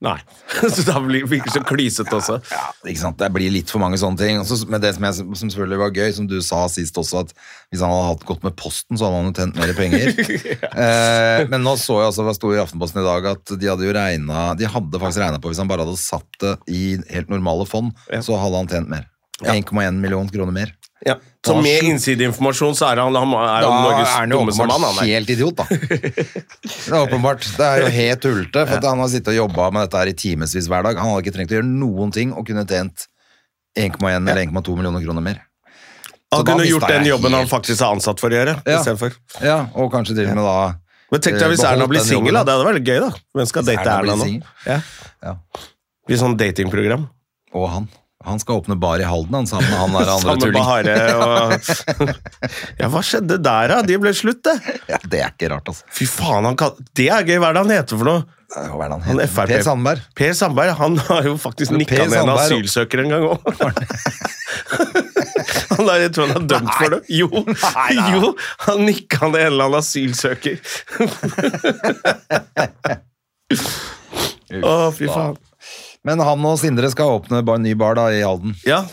Speaker 1: Nei. Så da blir det ikke så klysete også.
Speaker 2: Ikke sant? Det blir litt for mange sånne ting. Og så- men det som, jeg, som selvfølgelig var gøy, som du sa sist også, at hvis han hadde hatt godt med posten, så hadde han jo tjent mer penger. eh, men nå så jeg altså, det sto i Aftenposten i dag, at de hadde jo regnet, de hadde faktisk regna på hvis han bare hadde satt det i helt normale fond, så hadde han tjent mer. 1,1 million kroner mer.
Speaker 1: Ja. Så med innsideinformasjon så er han, han er jo Norges
Speaker 2: han
Speaker 1: dummeste mann. Han, er.
Speaker 2: helt idiot, da. Det er åpenbart. Det er jo helt tullete. For at han har sittet og jobba med dette her i timevis hver dag. Han hadde ikke trengt å gjøre noen ting og kunne tjent 1,1 eller 1,2 millioner kroner mer. Så
Speaker 1: han
Speaker 2: da
Speaker 1: kunne
Speaker 2: mistet
Speaker 1: gjort den
Speaker 2: jeg
Speaker 1: jobben han
Speaker 2: helt-
Speaker 1: faktisk er ansatt for å gjøre.
Speaker 2: Ja.
Speaker 1: istedenfor.
Speaker 2: Ja, og kanskje til og med da
Speaker 1: Men tenk deg hvis
Speaker 2: Eh,
Speaker 1: Erna
Speaker 2: beholdt
Speaker 1: blir
Speaker 2: den
Speaker 1: singel, da.
Speaker 2: jobben,
Speaker 1: Det hadde vært gøy, da. Hvem skal
Speaker 2: Hvis
Speaker 1: date
Speaker 2: Erna blir
Speaker 1: Erna nå?
Speaker 2: singel.
Speaker 1: Ja.
Speaker 2: Ja.
Speaker 1: I sånn datingprogram.
Speaker 2: Og han. Han skal åpne bar i Halden, han sammen med han der andre
Speaker 1: Sammen med
Speaker 2: tulling.
Speaker 1: Bahare og Ja, hva skjedde der, da? De ble slutt, det.
Speaker 2: Ja, det er ikke rart, altså.
Speaker 1: Fy faen, han kan Det er gøy, hva er det han heter for noe?
Speaker 2: Det er jo- Hva er det han
Speaker 1: Han
Speaker 2: heter?
Speaker 1: FrP.
Speaker 2: Per Sandberg.
Speaker 1: Per Sandberg han har jo faktisk
Speaker 2: Men Per
Speaker 1: nikka ned en
Speaker 2: Sandberg-
Speaker 1: asylsøker en gang òg. Han er, jeg tror han er dømt for det. Jo, jo han nikka ned en eller annen asylsøker. Å, fy faen.
Speaker 2: Men han og Sindre skal åpne bar, ny bar da i Halden.
Speaker 1: Ja.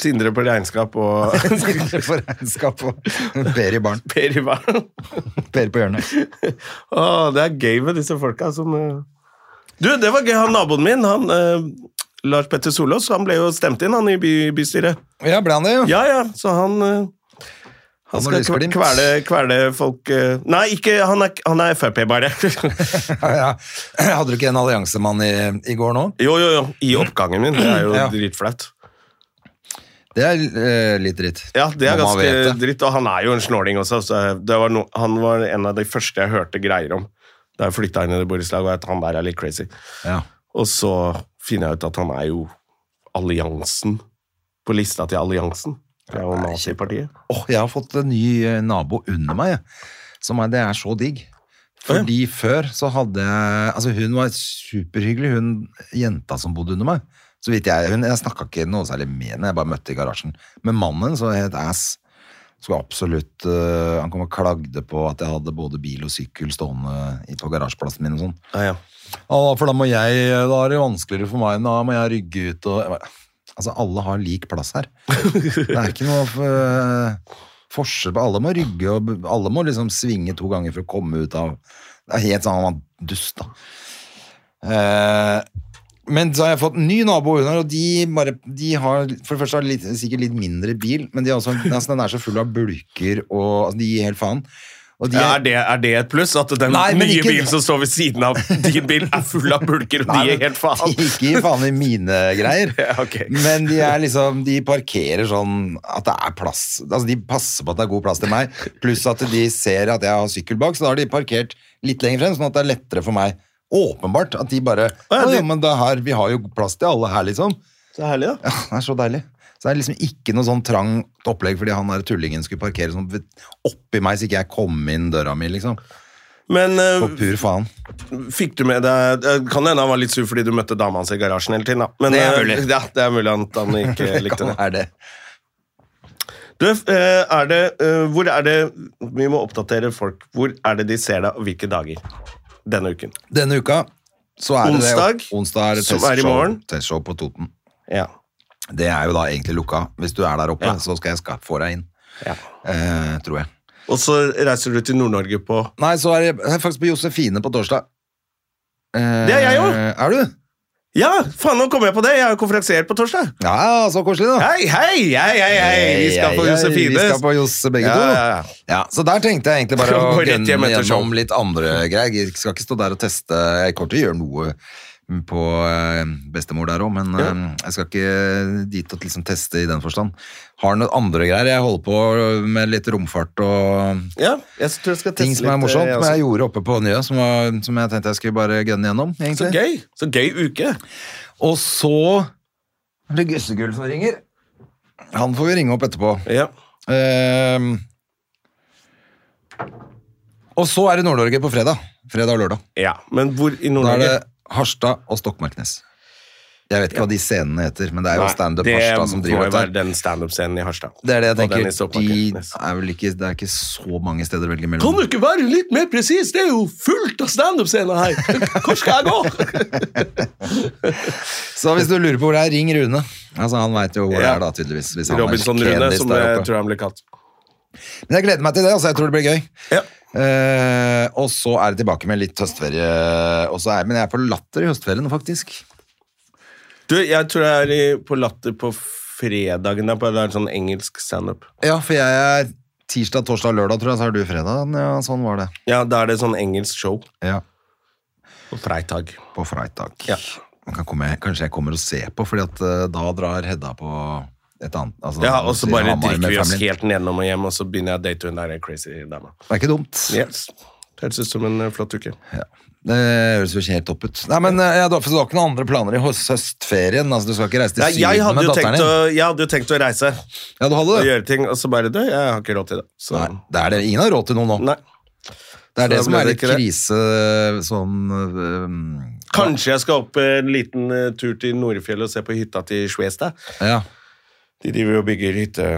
Speaker 1: Sindre på regnskap og
Speaker 2: Sindre for regnskap og Per i baren.
Speaker 1: Per i verden.
Speaker 2: Per på hjørnet.
Speaker 1: Å, det er gøy med disse folka som eh. Du, det var gøy. Han naboen min, han eh, Lars Petter Solås, han ble jo stemt inn han i by bystyret.
Speaker 2: Ja, ble han det, jo?
Speaker 1: Ja, ja, så han eh, Han
Speaker 2: Han
Speaker 1: skal
Speaker 2: har
Speaker 1: kve-
Speaker 2: lysglimt.
Speaker 1: kvele, kvele folk eh, Nei, ikke, han er, han er Frp, bare.
Speaker 2: Ja, ja. Hadde du ikke en alliansemann i, i går nå?
Speaker 1: jo, jo, jo. I oppgangen min. Det er jo
Speaker 2: Ja.
Speaker 1: dritflaut.
Speaker 2: Det er eh, litt dritt.
Speaker 1: Ja, det er
Speaker 2: Når man
Speaker 1: ganske
Speaker 2: vet det.
Speaker 1: dritt. Og han er jo en snåling også. Så det var no, han var en av de første jeg hørte greier om da jeg flytta inn i det borettslaget, at han der er litt crazy.
Speaker 2: Ja.
Speaker 1: Og så finner jeg ut at han er jo alliansen på lista til alliansen. Det er jo nazipartiet.
Speaker 2: Åh, jeg har fått en ny eh, nabo under meg, jeg. som er, det er så digg. Fordi før så hadde jeg Altså, hun var superhyggelig, hun jenta som bodde under meg. Så vidt jeg hun, Jeg snakka ikke noe særlig med henne, jeg bare møtte i garasjen. Men mannen så het ass. Skulle absolutt eh, Han kom og klagde på at jeg hadde både bil og sykkel stående i- på garasjeplassen min og sånn.
Speaker 1: Ja, ja.
Speaker 2: Ja, da, for da må jeg, da er det vanskeligere for meg, da må jeg rygge ut og jeg bare, Altså, alle har lik plass her. Det er ikke noe eh, forskjell på Alle må rygge, og alle må liksom svinge to ganger for å komme ut av Det er helt sånn at man dust, da. Eh, men så har jeg fått en ny nabo under, og de, bare, de har for det første har de litt, sikkert litt mindre bil, men de har også, altså, den er så full av bulker og altså, De gir helt faen. Og de
Speaker 1: Ja, er, det, er det et pluss? At den
Speaker 2: Nei, men
Speaker 1: nye
Speaker 2: ikke-
Speaker 1: bilen som står ved siden av din bil, er full av bulker, og
Speaker 2: Nei,
Speaker 1: de
Speaker 2: men
Speaker 1: gir helt faen?
Speaker 2: de gir faen i mine greier.
Speaker 1: Ja, ok.
Speaker 2: Men de er liksom De parkerer sånn at det er plass. Altså De passer på at det er god plass til meg, pluss at de ser at jeg har sykkel bak, så da har de parkert litt lenger frem, sånn at det er lettere for meg. Åpenbart at de bare
Speaker 1: ja,
Speaker 2: «Å,
Speaker 1: de-
Speaker 2: ja, men det er her, Vi har jo plass til alle her, liksom.
Speaker 1: Så herlig, da.
Speaker 2: Ja, det er så deilig. Så det er liksom ikke noe sånn trangt opplegg fordi han der tullingen skulle parkere sånn ved- oppi meg så ikke jeg kom inn døra mi, liksom.
Speaker 1: Men eh,
Speaker 2: På pur faen.
Speaker 1: fikk du med deg det Kan hende han var litt sur fordi du møtte dama hans i garasjen hele tiden. Da. Men,
Speaker 2: Det er
Speaker 1: eh,
Speaker 2: mulig.
Speaker 1: Ja, det er mulig at han ikke likte
Speaker 2: Kan
Speaker 1: det.
Speaker 2: være det.
Speaker 1: Du, eh, er det eh, Hvor er det Vi må oppdatere folk. Hvor er det de ser deg, og hvilke dager? Denne uken.
Speaker 2: Denne uka Så er
Speaker 1: Onsdag,
Speaker 2: det det. Onsdag er det
Speaker 1: som er i
Speaker 2: testshow,
Speaker 1: morgen.
Speaker 2: testshow på Toten.
Speaker 1: Ja.
Speaker 2: Det er jo da egentlig lukka. Hvis du er der oppe,
Speaker 1: Ja.
Speaker 2: så skal jeg skaffe få deg inn.
Speaker 1: Ja.
Speaker 2: Eh, tror jeg.
Speaker 1: Og så reiser du til Nord-Norge på
Speaker 2: Nei, så er jeg jeg er faktisk på Josefine på torsdag. Eh,
Speaker 1: Det er jeg også.
Speaker 2: Er du?
Speaker 1: Ja, faen, nå kom jeg på det! Jeg er jo konferansier på torsdag.
Speaker 2: Ja, så koselig, da.
Speaker 1: Hei, hei, hei, hei, hei. Vi skal
Speaker 2: Ah. Hei,
Speaker 1: på
Speaker 2: hei,
Speaker 1: Josefine.
Speaker 2: Vi skal på Jose begge
Speaker 1: Ja,
Speaker 2: to.
Speaker 1: ja, ja.
Speaker 2: Ja, så der tenkte jeg egentlig bare å
Speaker 1: Gå rett
Speaker 2: gønne
Speaker 1: hjem etter show.
Speaker 2: gjennom litt andre greier. Jeg skal ikke stå der og teste. Jeg kommer til å gjøre noe på eh, bestemor der òg, men eh, jeg skal ikke dit og liksom teste i den forstand. Har noen andre greier. Jeg holder på med litt romfart og
Speaker 1: Ja, jeg tror jeg skal teste
Speaker 2: ting som er
Speaker 1: litt,
Speaker 2: morsomt.
Speaker 1: eh,
Speaker 2: Men jeg gjorde oppe på Njø, som, var, som jeg tenkte jeg skulle bare gønne gjennom.
Speaker 1: Så
Speaker 2: egentlig.
Speaker 1: gøy! Så gøy uke.
Speaker 2: Og så er det Gussegull som ringer. Han får vi ringe opp etterpå.
Speaker 1: Ja.
Speaker 2: Ehm. og så er det Nord-Norge på fredag. Fredag og lørdag.
Speaker 1: ja. Men hvor
Speaker 2: Da er
Speaker 1: i
Speaker 2: det
Speaker 1: Nord-Norge?
Speaker 2: Harstad og Stokmarknes. Jeg vet ikke hva de scenene heter, men det er jo
Speaker 1: Nei,
Speaker 2: standup
Speaker 1: det
Speaker 2: Harstad som
Speaker 1: må
Speaker 2: driver
Speaker 1: jo være
Speaker 2: dette.
Speaker 1: den standup-scenen i Harstad.
Speaker 2: Det er det jeg
Speaker 1: Og den i
Speaker 2: tenker.
Speaker 1: Stokmarknes.
Speaker 2: De er vel ikke, det er ikke så mange steder å velge
Speaker 1: Kan
Speaker 2: mellom.
Speaker 1: du ikke være litt mer presis? Det er jo fullt av standup-scener her! Hvor skal jeg gå?
Speaker 2: Så hvis du lurer på hvor det er, ring Rune. Altså, han veit jo hvor det
Speaker 1: Ja.
Speaker 2: er, da, tydeligvis. Hvis han er
Speaker 1: Robinson Rune,
Speaker 2: kendis
Speaker 1: som
Speaker 2: der
Speaker 1: jeg
Speaker 2: oppe.
Speaker 1: tror han ble kalt.
Speaker 2: Men jeg gleder meg til det. altså Jeg tror det blir gøy.
Speaker 1: Ja.
Speaker 2: Eh, og så er det tilbake med litt høstferie. Og så er, men jeg er på latter i høstferien, faktisk.
Speaker 1: Du, jeg tror jeg er i- på Latter på fredagen. der, på- Det er en sånn engelsk standup.
Speaker 2: Ja, for jeg er tirsdag, torsdag, lørdag, tror jeg. Så er du fredag. Ja, sånn var det.
Speaker 1: Ja, da er det sånn engelsk show
Speaker 2: Ja,
Speaker 1: på freitag.
Speaker 2: På fredag.
Speaker 1: Ja.
Speaker 2: Man kan komme, kanskje jeg kommer og ser på, Fordi at eh, da drar Hedda på et annet altså,
Speaker 1: Ja, og så
Speaker 2: til
Speaker 1: bare
Speaker 2: Hamar
Speaker 1: drikker
Speaker 2: med
Speaker 1: vi oss
Speaker 2: familien.
Speaker 1: helt nedenom og hjem, og så begynner jeg å date hun der crazy dama.
Speaker 2: Det er ikke dumt.
Speaker 1: Yes. Høres ut som en eh, flott uke.
Speaker 2: Det høres jo ikke helt topp ut. Nei, men eh, ja, du har du har ikke noen andre planer i høst- høstferien? Altså, du skal ikke reise til
Speaker 1: Nei,
Speaker 2: Syden
Speaker 1: jeg, hadde
Speaker 2: med
Speaker 1: jo
Speaker 2: datteren
Speaker 1: tenkt
Speaker 2: din?
Speaker 1: å, jeg hadde jo tenkt å reise
Speaker 2: Ja, du hadde
Speaker 1: og
Speaker 2: det?
Speaker 1: gjøre ting, og så bare du, jeg har ikke råd til det. Så,
Speaker 2: Nei, det er det. Ingen har råd til noe nå.
Speaker 1: nei.
Speaker 2: Det er
Speaker 1: Så
Speaker 2: det
Speaker 1: da
Speaker 2: som
Speaker 1: ble
Speaker 2: er
Speaker 1: det
Speaker 2: litt
Speaker 1: ikke det.
Speaker 2: krise sånn eh, øhm,
Speaker 1: Kanskje jeg skal opp en liten eh, tur til Norefjellet og se på hytta til Schwestad.
Speaker 2: Ja.
Speaker 1: De driver og bygger hytte.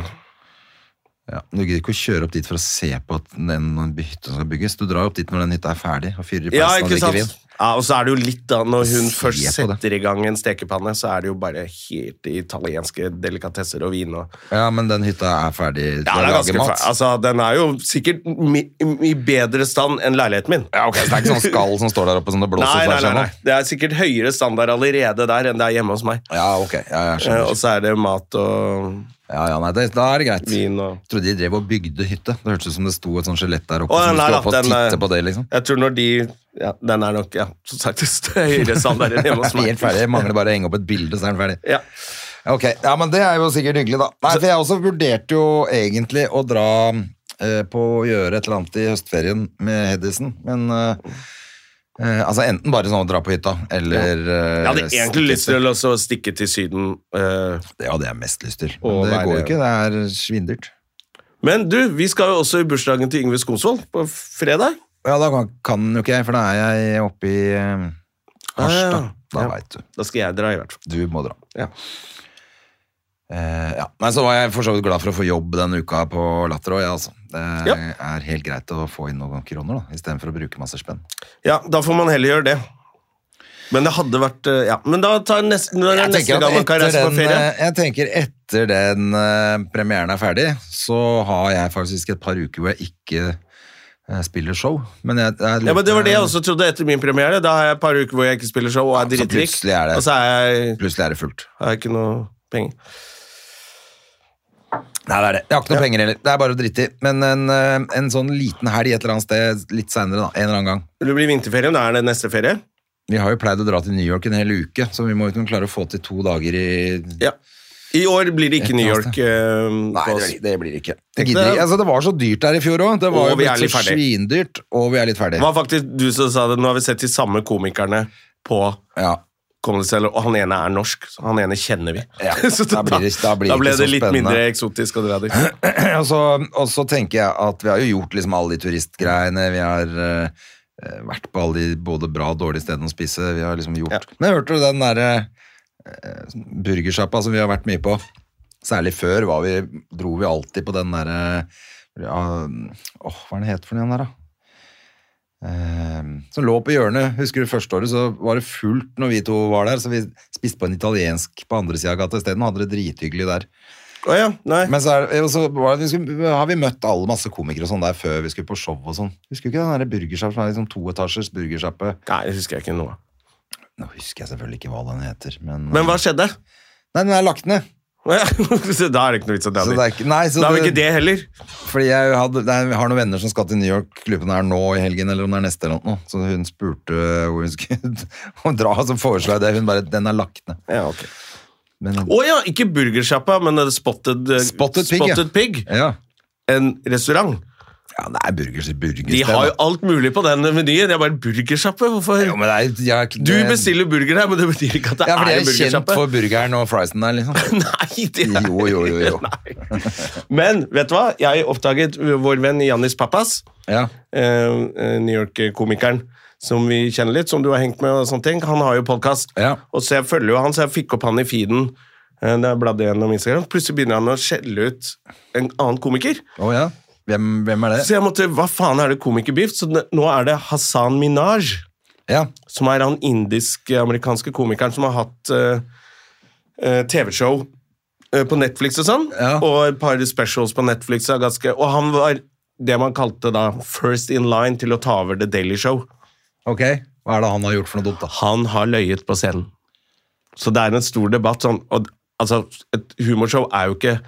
Speaker 2: ja. Du gidder ikke å kjøre opp dit for å se på at den den hytta skal bygges. Du drar opp dit når den hytta er ferdig og fyrer i
Speaker 1: Ja,
Speaker 2: peisen og
Speaker 1: ikke
Speaker 2: drikker vin.
Speaker 1: sant? Ja, og så er det jo litt da, når hun
Speaker 2: Se
Speaker 1: først
Speaker 2: på
Speaker 1: setter
Speaker 2: det.
Speaker 1: i gang en stekepanne, så er det jo bare helt italienske delikatesser og vin og
Speaker 2: Ja, men den hytta er ferdig til
Speaker 1: Ja,
Speaker 2: å
Speaker 1: det er
Speaker 2: lage
Speaker 1: ganske
Speaker 2: mat.
Speaker 1: fa- Altså, den er jo sikkert mi, i bedre stand enn leiligheten min.
Speaker 2: Ja, ok, så det er ikke sånn skall som står der oppe som det blåser
Speaker 1: Nei, nei, nei, nei.
Speaker 2: skjermen?
Speaker 1: Det er sikkert høyere standard allerede der enn det er hjemme hos meg.
Speaker 2: Ja, ok. Ja, jeg
Speaker 1: Eh,
Speaker 2: skjønner.
Speaker 1: Og så er det mat og
Speaker 2: Ja, ja, nei, det, da er det greit.
Speaker 1: vin og
Speaker 2: Jeg trodde de drev og bygde hytte. Det hørtes ut som det sto et sånt skjelett der oppe.
Speaker 1: Å,
Speaker 2: som du
Speaker 1: nei,
Speaker 2: skulle
Speaker 1: da,
Speaker 2: opp og
Speaker 1: den, eh,
Speaker 2: titte på det, liksom.
Speaker 1: Jeg tror når de ja, Den er nok, ja, som sagt, høyere standard enn hjemme hos meg.
Speaker 2: Helt ferdig. Mangler bare å henge opp et bilde, så er den ferdig.
Speaker 1: Ja.
Speaker 2: Ok, ja, men det er jo sikkert hyggelig da. Nei, for jeg også vurderte jo egentlig å dra eh, på å gjøre et eller annet i høstferien med Hedisen, men eh, eh, altså enten bare sånn å dra på hytta, eller... eh,
Speaker 1: Jeg hadde egentlig lyst til å også stikke til Syden. eh,
Speaker 2: Det hadde jeg mest lyst til,
Speaker 1: Å
Speaker 2: men det
Speaker 1: være-
Speaker 2: går jo ikke, det er svindyrt.
Speaker 1: Men du, vi skal jo også i bursdagen til Yngve Skomsvold på fredag.
Speaker 2: Ja, da kan, kan jo ikke jeg, for da er jeg oppe i eh, Harstad,
Speaker 1: Ah,
Speaker 2: da
Speaker 1: ja.
Speaker 2: vet du.
Speaker 1: Da skal jeg dra, i hvert fall.
Speaker 2: Du må dra.
Speaker 1: Ja.
Speaker 2: Eh, ja. Nei, så var jeg for så vidt glad for å få jobb denne uka på Latter òg, jeg, altså. Det
Speaker 1: Ja.
Speaker 2: er helt greit å få inn noen kroner, da, istedenfor å bruke masse spenn.
Speaker 1: Ja, da får man heller gjøre det. Men det hadde vært eh, Ja, men da tar neste, når er
Speaker 2: Jeg
Speaker 1: neste
Speaker 2: tenker,
Speaker 1: gang man
Speaker 2: at
Speaker 1: kan
Speaker 2: etter
Speaker 1: reise på
Speaker 2: den,
Speaker 1: ferie.
Speaker 2: eh, jeg tenker etter den eh, premieren er ferdig, så har jeg faktisk et par uker hvor jeg ikke eh, spiller show. Men jeg, jeg
Speaker 1: Ja, men Det var det jeg
Speaker 2: lurte-
Speaker 1: også trodde etter min premiere. Da har jeg et par uker hvor jeg ikke spiller show og
Speaker 2: Ja,
Speaker 1: er
Speaker 2: så
Speaker 1: dritrik.
Speaker 2: plutselig er det-
Speaker 1: Og så er jeg,
Speaker 2: Plutselig er det fullt.
Speaker 1: har jeg ikke noe penger.
Speaker 2: Nei, det er det. Jeg har ikke noe penger heller. Det er bare å drite i. Men en, eh, en sånn liten helg et eller annet sted litt seinere, da. En eller annen gang.
Speaker 1: Det blir vinterferie. Da er det neste ferie.
Speaker 2: Vi har jo pleid å dra til New York en hel uke, så vi må jo kunne klare å få til to dager i
Speaker 1: Ja. I år blir det ikke
Speaker 2: Et
Speaker 1: New
Speaker 2: annet
Speaker 1: York. eh, på oss.
Speaker 2: det blir ikke.
Speaker 1: Tenk
Speaker 2: gidder
Speaker 1: det.
Speaker 2: ikke. Altså, det var så dyrt der i fjor òg. Det
Speaker 1: Og
Speaker 2: var jo
Speaker 1: vi er
Speaker 2: blitt
Speaker 1: litt
Speaker 2: så
Speaker 1: ferdig.
Speaker 2: svindyrt, og vi er litt
Speaker 1: Det
Speaker 2: ferdig.
Speaker 1: var faktisk du som sa det. Nå har vi sett de samme komikerne på
Speaker 2: Ja.
Speaker 1: Comedy Cellar, og han ene er norsk. Så han ene kjenner vi.
Speaker 2: Ja,
Speaker 1: Så
Speaker 2: da blir det- da blir det
Speaker 1: da ble
Speaker 2: ikke
Speaker 1: det
Speaker 2: så
Speaker 1: litt
Speaker 2: spennende.
Speaker 1: mindre eksotisk å dra dit.
Speaker 2: Og så, og så tenker jeg at vi har jo gjort liksom alle de turistgreiene, vi har eh, vært på alle de både bra og dårlige stedene å spise, vi har liksom gjort.
Speaker 1: Ja.
Speaker 2: Men hørte du den derre uh, burgersjappa som vi har vært mye på? Særlig før var vi, dro vi alltid på den derre ja, Åh, hva er den het for den der, da? eh, som lå på hjørnet. Husker du første året så var det fullt når vi to var der, så vi spiste på en italiensk på andre sida av gata isteden og hadde det drithyggelig der.
Speaker 1: Å ja, nei.
Speaker 2: Men så, er, det- og så var det, vi skulle, har vi møtt alle masse komikere og sånn der før vi skulle på show og sånn. Husker du ikke den der burgersjappen som er liksom toetasjers burgersjappe?
Speaker 1: nei, det husker jeg ikke noe av.
Speaker 2: Nå husker jeg selvfølgelig ikke hva den heter, men,
Speaker 1: Men hva skjedde?
Speaker 2: Nei, den er lagt ned.
Speaker 1: Å ja, så da er det ikke noe vits at det
Speaker 2: Så det
Speaker 1: er
Speaker 2: er ikke, nei, så
Speaker 1: Da er vel ikke det heller.
Speaker 2: Fordi jeg hadde, nei, jeg har noen venner som skal til New York Klubben er nå i helgen Eller om det er neste eller noe Så hun spurte hvor hun skulle dra Så foreslo jeg det Hun bare, den er lagt ned
Speaker 1: Ja, ok.
Speaker 2: Men
Speaker 1: Å ja, ikke burgersjappa, men eh, Spotted, eh,
Speaker 2: Spotted Pig, ja.
Speaker 1: Spotted Pig.
Speaker 2: ja
Speaker 1: En restaurant.
Speaker 2: Ja, det er burgers burgers
Speaker 1: De har jo alt mulig på den menyen. Det er bare burgersjappe. Hvorfor?
Speaker 2: Jo, men det er jeg,
Speaker 1: Du bestiller burger her, men det betyr ikke at det
Speaker 2: Ja, for
Speaker 1: er
Speaker 2: det
Speaker 1: en
Speaker 2: er kjent
Speaker 1: burgersjappe.
Speaker 2: for burgeren og friesen der liksom
Speaker 1: Nei, det er
Speaker 2: Jo, jo, jo, jo.
Speaker 1: Nei. Men vet du hva? Jeg oppdaget vår venn Jannis Pappas,
Speaker 2: Ja,
Speaker 1: eh, eh, New York-komikeren, som vi kjenner litt, som du har hengt med og sånne ting. Han har jo podkast,
Speaker 2: Ja.
Speaker 1: og så jeg følger jo han, så jeg fikk opp han i feeden. eh, Da jeg bladde gjennom Instagram, plutselig begynner han å skjelle ut en annen komiker.
Speaker 2: å ja hvem, hvem er det?
Speaker 1: Så jeg måtte, hva faen er det komikerbeef? Så n- nå er det Hassan Minaj,
Speaker 2: Ja,
Speaker 1: som er han indisk-amerikanske komikeren som har hatt eh, eh, TV-show eh, på Netflix og sånn,
Speaker 2: Ja.
Speaker 1: og et par specials på Netflix. Og, ganske, og han var det man kalte da first in line til å ta over The Daily Show.
Speaker 2: ok Hva er det han har gjort for noe dumt da?
Speaker 1: Han har løyet på scenen. Så det er en stor debatt sånn, og altså, et humorshow er jo ikke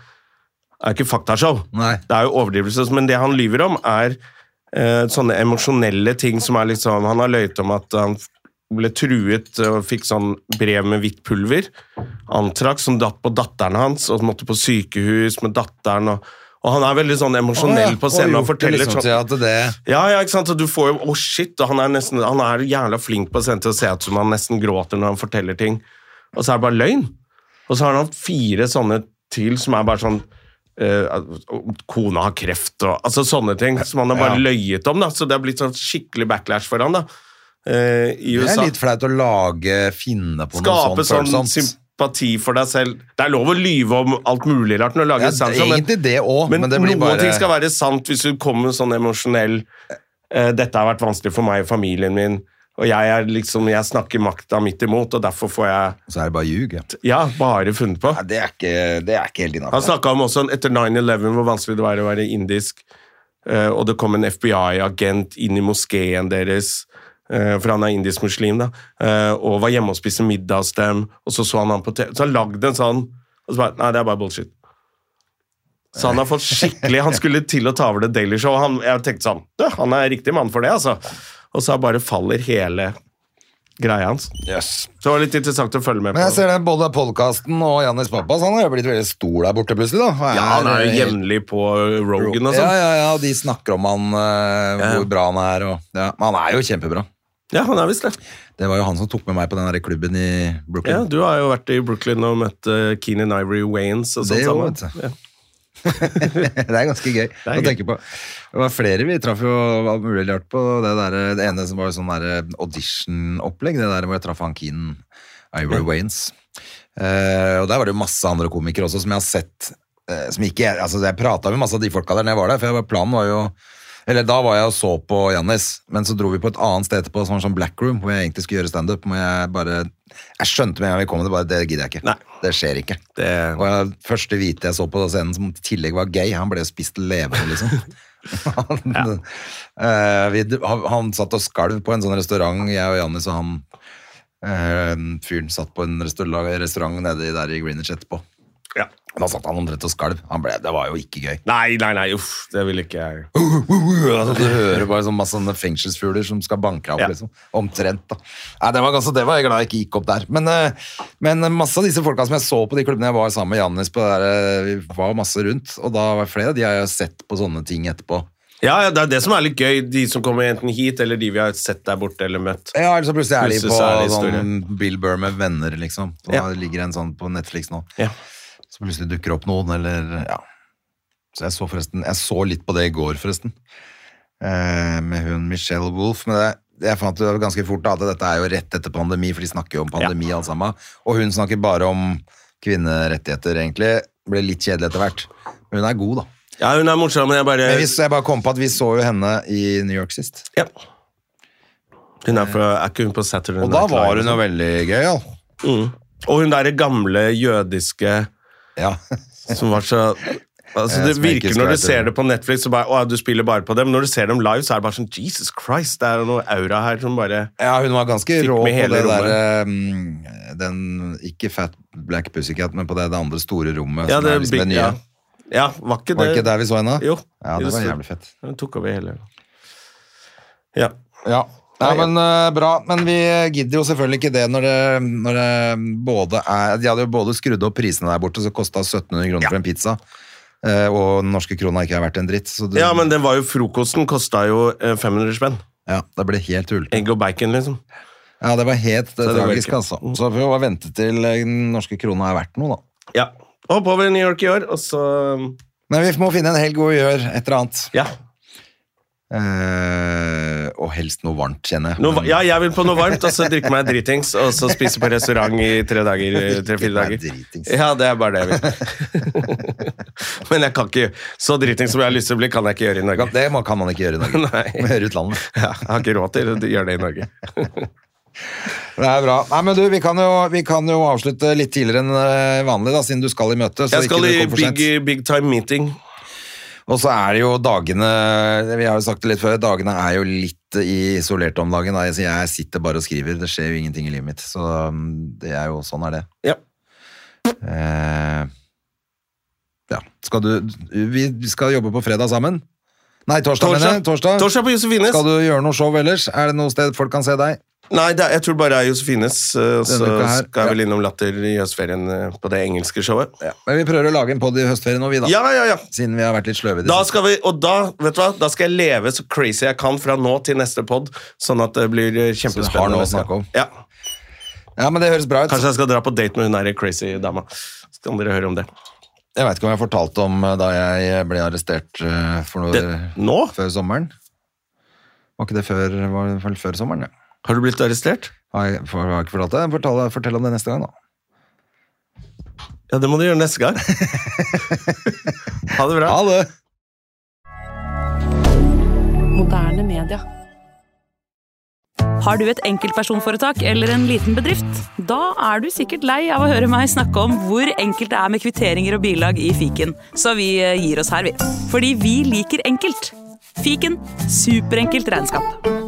Speaker 1: er ikke faktashow.
Speaker 2: Nei.
Speaker 1: Det er jo overdrivelse, men det han lyver om er eh, sånne emosjonelle ting som er liksom, han har løyet om at han f- ble truet og fikk sånn brev med hvitt pulver, antrakk som datt på datteren hans, og måtte på sykehus med datteren, og, og han er veldig sånn emosjonell på scenen, og
Speaker 2: gjort det
Speaker 1: forteller
Speaker 2: liksom
Speaker 1: sånn,
Speaker 2: til at det
Speaker 1: ja, ja, ikke sant? Og du får jo, å shit, og han er, nesten, han er jævla flink på å sende til å se ut som han nesten gråter når han forteller ting. Og så er det bare løgn. Og så har han fire sånne til som er bare sånn, eh, at kona har kreft, og altså sånne ting som han har bare løyet om da. Så det har blitt sånn skikkelig backlash for han da. eh, I
Speaker 2: Det
Speaker 1: USA.
Speaker 2: er litt flaut å lage, finne på
Speaker 1: Skape
Speaker 2: noe sånt
Speaker 1: sånn sympati for deg selv. Det er lov å lyve om alt mulig rart når du lager
Speaker 2: Ja,
Speaker 1: et standup, sånn, men-
Speaker 2: egentlig det også,
Speaker 1: men,
Speaker 2: men det blir
Speaker 1: noen
Speaker 2: bare-
Speaker 1: ting skal være sant hvis du kommer med sånn emosjonell eh, Dette har vært vanskelig for meg og familien min, og jeg, er liksom, jeg snakker makta midt imot, og derfor får jeg
Speaker 2: Så er det bare ljug, ja.
Speaker 1: Ja, bare funnet på.
Speaker 2: Nei, det er ikke, det er ikke helt
Speaker 1: Han
Speaker 2: innafor.
Speaker 1: snakka om også etter 9-11 hvor vanskelig det var å være indisk, eh, og det kom en FBI-agent inn i moskeen deres, eh, for han er indisk-muslim, da, eh, og var hjemme og spiste middag hos dem, og så så han han på TV, så han lagde en sånn, og så bare, nei, det er bare bullshit. Så han har fått skikkelig, han skulle til å ta over det Daily Show, og han, jeg tenkte sånn, «Dø, han er riktig mann for det, altså. Og så bare faller hele greia hans. Så det var litt interessant å følge med
Speaker 2: Men jeg
Speaker 1: på.
Speaker 2: ser det både podkasten og Jannis pappa, så han har jo blitt veldig stor der borte plutselig, da. Og
Speaker 1: Ja, han er jo
Speaker 2: eh,
Speaker 1: jevnlig på Rogan og
Speaker 2: Ja,
Speaker 1: sånn.
Speaker 2: ja, ja, de snakker om han, eh, hvor bra han er, og ja. Men han er jo kjempebra.
Speaker 1: Ja, han er visst det.
Speaker 2: Det var jo han som tok med meg på den der klubben i
Speaker 1: Ja,
Speaker 2: Brooklyn.
Speaker 1: du har jo vært i Brooklyn og møtt eh, Keenan Ivory Waynes og sånn
Speaker 2: Det jo,
Speaker 1: sammen.
Speaker 2: vet du.
Speaker 1: Ja.
Speaker 2: det er ganske gøy
Speaker 1: er
Speaker 2: å
Speaker 1: gøy.
Speaker 2: tenke på. Det var flere vi traff jo all mulig rart på. Det, der, det ene som var sånn der audition-opplegg, det der hvor jeg traff han Keen Ivory Waynes. Eh, og der var det jo masse andre komikere også som jeg har sett eh, som ikke, altså Jeg prata med masse av de folka der når jeg var der, for jeg var, planen var jo eller Da var jeg og så på Jannis, men så dro vi på et annet sted etterpå, som var sånn black room, hvor jeg egentlig skulle gjøre standup. Men jeg bare Jeg skjønte med en gang vi kom, det bare, det gidder jeg ikke.
Speaker 1: Nei.
Speaker 2: Det skjer ikke.
Speaker 1: Det-
Speaker 2: Og jeg, første hvite jeg så på scenen som i tillegg var gay, han ble jo spist levende, liksom. han, eh, vi, han, han satt og skalv på en sånn restaurant, jeg og Jannis og han eh, fyren satt på en restaurant, restaurant nede i- der i Greenwich etterpå.
Speaker 1: Ja.
Speaker 2: Og Da satt han omtrent og skalv. Han ble, det var jo ikke gøy.
Speaker 1: Nei, nei, nei, uff, det vil ikke jeg.
Speaker 2: Altså, du hører bare sånn masse sånne fengselsfugler som skal banke deg opp,
Speaker 1: Ja.
Speaker 2: liksom. Omtrent, da. Nei, det var, ganske, det var jeg glad jeg ikke gikk opp der. Men, eh, men masse av disse folka som jeg så på de klubbene jeg var sammen med Jannis på, det der, eh, vi var masse rundt, og da var det flere, de har jeg sett på sånne ting etterpå.
Speaker 1: Ja, ja, det er det som er litt gøy. De som kommer enten hit, eller de vi har sett der borte eller møtt.
Speaker 2: Ja, eller så plutselig er de
Speaker 1: Plutselig
Speaker 2: på
Speaker 1: så er det
Speaker 2: sånn Bill Burr med venner, liksom. Det
Speaker 1: Ja.
Speaker 2: ligger en sånn på Netflix nå.
Speaker 1: Ja.
Speaker 2: Så plutselig dukker opp noen, eller ja. Så jeg så forresten, jeg så litt på det i går forresten, eh, med hun Michelle Wolf, men det, jeg fant jo ganske fort da, at dette er jo rett etter pandemi, for de snakker jo om pandemi alle sammen, og hun snakker bare om kvinnerettigheter egentlig, ble litt kjedelig etter hvert, men hun er god da.
Speaker 1: Ja, hun er morsom, men jeg bare
Speaker 2: Men hvis jeg bare kom på at vi så jo henne i New York sist,
Speaker 1: ja. Hun er, fra, er liksom. ikke hun på Saturday
Speaker 2: Og da
Speaker 1: Night
Speaker 2: var
Speaker 1: Live?
Speaker 2: hun jo veldig gøyal.
Speaker 1: Mm. Og hun derre gamle jødiske
Speaker 2: Ja.
Speaker 1: som var så Altså,
Speaker 2: Eh,
Speaker 1: det
Speaker 2: som jeg ikke
Speaker 1: virker Når
Speaker 2: skal-
Speaker 1: du ser det på Netflix, så bare, å, du spiller bare på dem. Når du ser dem live, så er det bare sånn Jesus Christ, det er noe aura her som bare
Speaker 2: Ja, hun var ganske
Speaker 1: Fikk
Speaker 2: rå på
Speaker 1: med
Speaker 2: det
Speaker 1: hele rommet.
Speaker 2: der um, den, Ikke Fat Black Pussycat, men på det, det andre store rommet.
Speaker 1: Ja,
Speaker 2: som
Speaker 1: det
Speaker 2: er liksom det
Speaker 1: big-
Speaker 2: nye.
Speaker 1: ja. ja, var ikke det
Speaker 2: Var det ikke der vi så henne?
Speaker 1: Jo.
Speaker 2: Ja, det var
Speaker 1: Just-
Speaker 2: jævlig fett.
Speaker 1: Hun tok over hele Ja.
Speaker 2: Ja. men eh, bra. Men vi gidder jo selvfølgelig ikke det når det, når det både er De hadde jo både skrudd opp prisene der borte, så kosta 1700 kroner for en pizza. eh, og den norske krona ikke er verdt en dritt. Så det,
Speaker 1: ja, men det var jo frokosten kosta jo eh, 500 spenn.
Speaker 2: ja, det ble helt tullete.
Speaker 1: Egg og bacon, liksom.
Speaker 2: Ja, det var helt eh,
Speaker 1: Så det var
Speaker 2: tragisk,
Speaker 1: ikke-
Speaker 2: altså. Så vi får vente til eh, den norske krona er verdt noe, da.
Speaker 1: Ja. Hopp over i New York i år, og så mm,
Speaker 2: Men vi må finne en helg hvor vi gjør et eller annet.
Speaker 1: Ja,
Speaker 2: Eh, og helst noe varmt, kjenner jeg.
Speaker 1: noe, va- ja jeg vil på noe varmt, og så drikke meg dritings, og så spise på restaurant i tre dager. eh, Tre-fire
Speaker 2: Drikke meg
Speaker 1: dager.
Speaker 2: dritings.
Speaker 1: Ja, det er bare det jeg vil. Men jeg kan ikke Så dritings som jeg har lyst til å bli, kan jeg ikke gjøre i Norge.
Speaker 2: Det må- kan man ikke gjøre i Norge.
Speaker 1: Nei.
Speaker 2: Man gjør utlandet.
Speaker 1: Ja, jeg har ikke råd til å gjøre det i Norge.
Speaker 2: Det er bra. Nei, men du, vi kan jo, vi kan jo avslutte litt tidligere enn eh, vanlig, da, siden du skal i møte. så
Speaker 1: Jeg
Speaker 2: ikke
Speaker 1: skal i
Speaker 2: du kommer for
Speaker 1: big,
Speaker 2: sent.
Speaker 1: big time meeting.
Speaker 2: Og så er det jo dagene Vi har jo sagt det litt før, dagene er jo litt i isolerte om dagen. da. Jeg- Jeg sitter bare og skriver. Det skjer jo ingenting i livet mitt. Så um, det er jo sånn er det.
Speaker 1: Ja.
Speaker 2: Eh, ja. Skal du Vi skal jobbe på fredag sammen. Nei, torsdag, mener jeg. Torsdag.
Speaker 1: Torsdag på Josefines.
Speaker 2: Skal du gjøre noe show ellers? Er det noe sted folk kan se deg?
Speaker 1: Nei, det, er- jeg tror bare det er Josefines. eh, Så
Speaker 2: uka her.
Speaker 1: skal jeg vel
Speaker 2: Ja.
Speaker 1: innom Latter i høstferien eh, på det engelske showet. Ja,
Speaker 2: Men vi prøver å lage en podd i høstferien nå, vi, da.
Speaker 1: ja, ja. ja.
Speaker 2: Siden vi har vært litt sløve i det
Speaker 1: Da
Speaker 2: siste.
Speaker 1: skal vi, og da, vet du hva, da skal jeg leve så crazy jeg kan fra nå til neste pod, sånn at det blir eh,
Speaker 2: Så vi har
Speaker 1: kjempespennende.
Speaker 2: noe å snakke om.
Speaker 1: Ja.
Speaker 2: Ja, men det høres bra ut.
Speaker 1: Kanskje jeg skal dra på date med hun der crazy dama. Så kan dere høre om det.
Speaker 2: Jeg veit ikke om jeg fortalte om eh, da jeg ble arrestert eh, for noe
Speaker 1: det nå?
Speaker 2: før sommeren. Var ikke det før, var det vel før sommeren, ja.
Speaker 1: Har du blitt arrestert?
Speaker 2: Har jeg, for, har jeg ikke fortalt det? Fortell, fortell om det neste gang, da.
Speaker 1: Ja, det må du gjøre neste gang. ha det bra.
Speaker 2: Ha det!
Speaker 3: Moderne media.
Speaker 4: Har du et enkeltpersonforetak eller en liten bedrift? Da er du sikkert lei av å høre meg snakke om hvor enkelt det er med kvitteringer og bilag i fiken, så vi eh, gir oss her, vi. Fordi vi liker enkelt. Fiken superenkelt regnskap.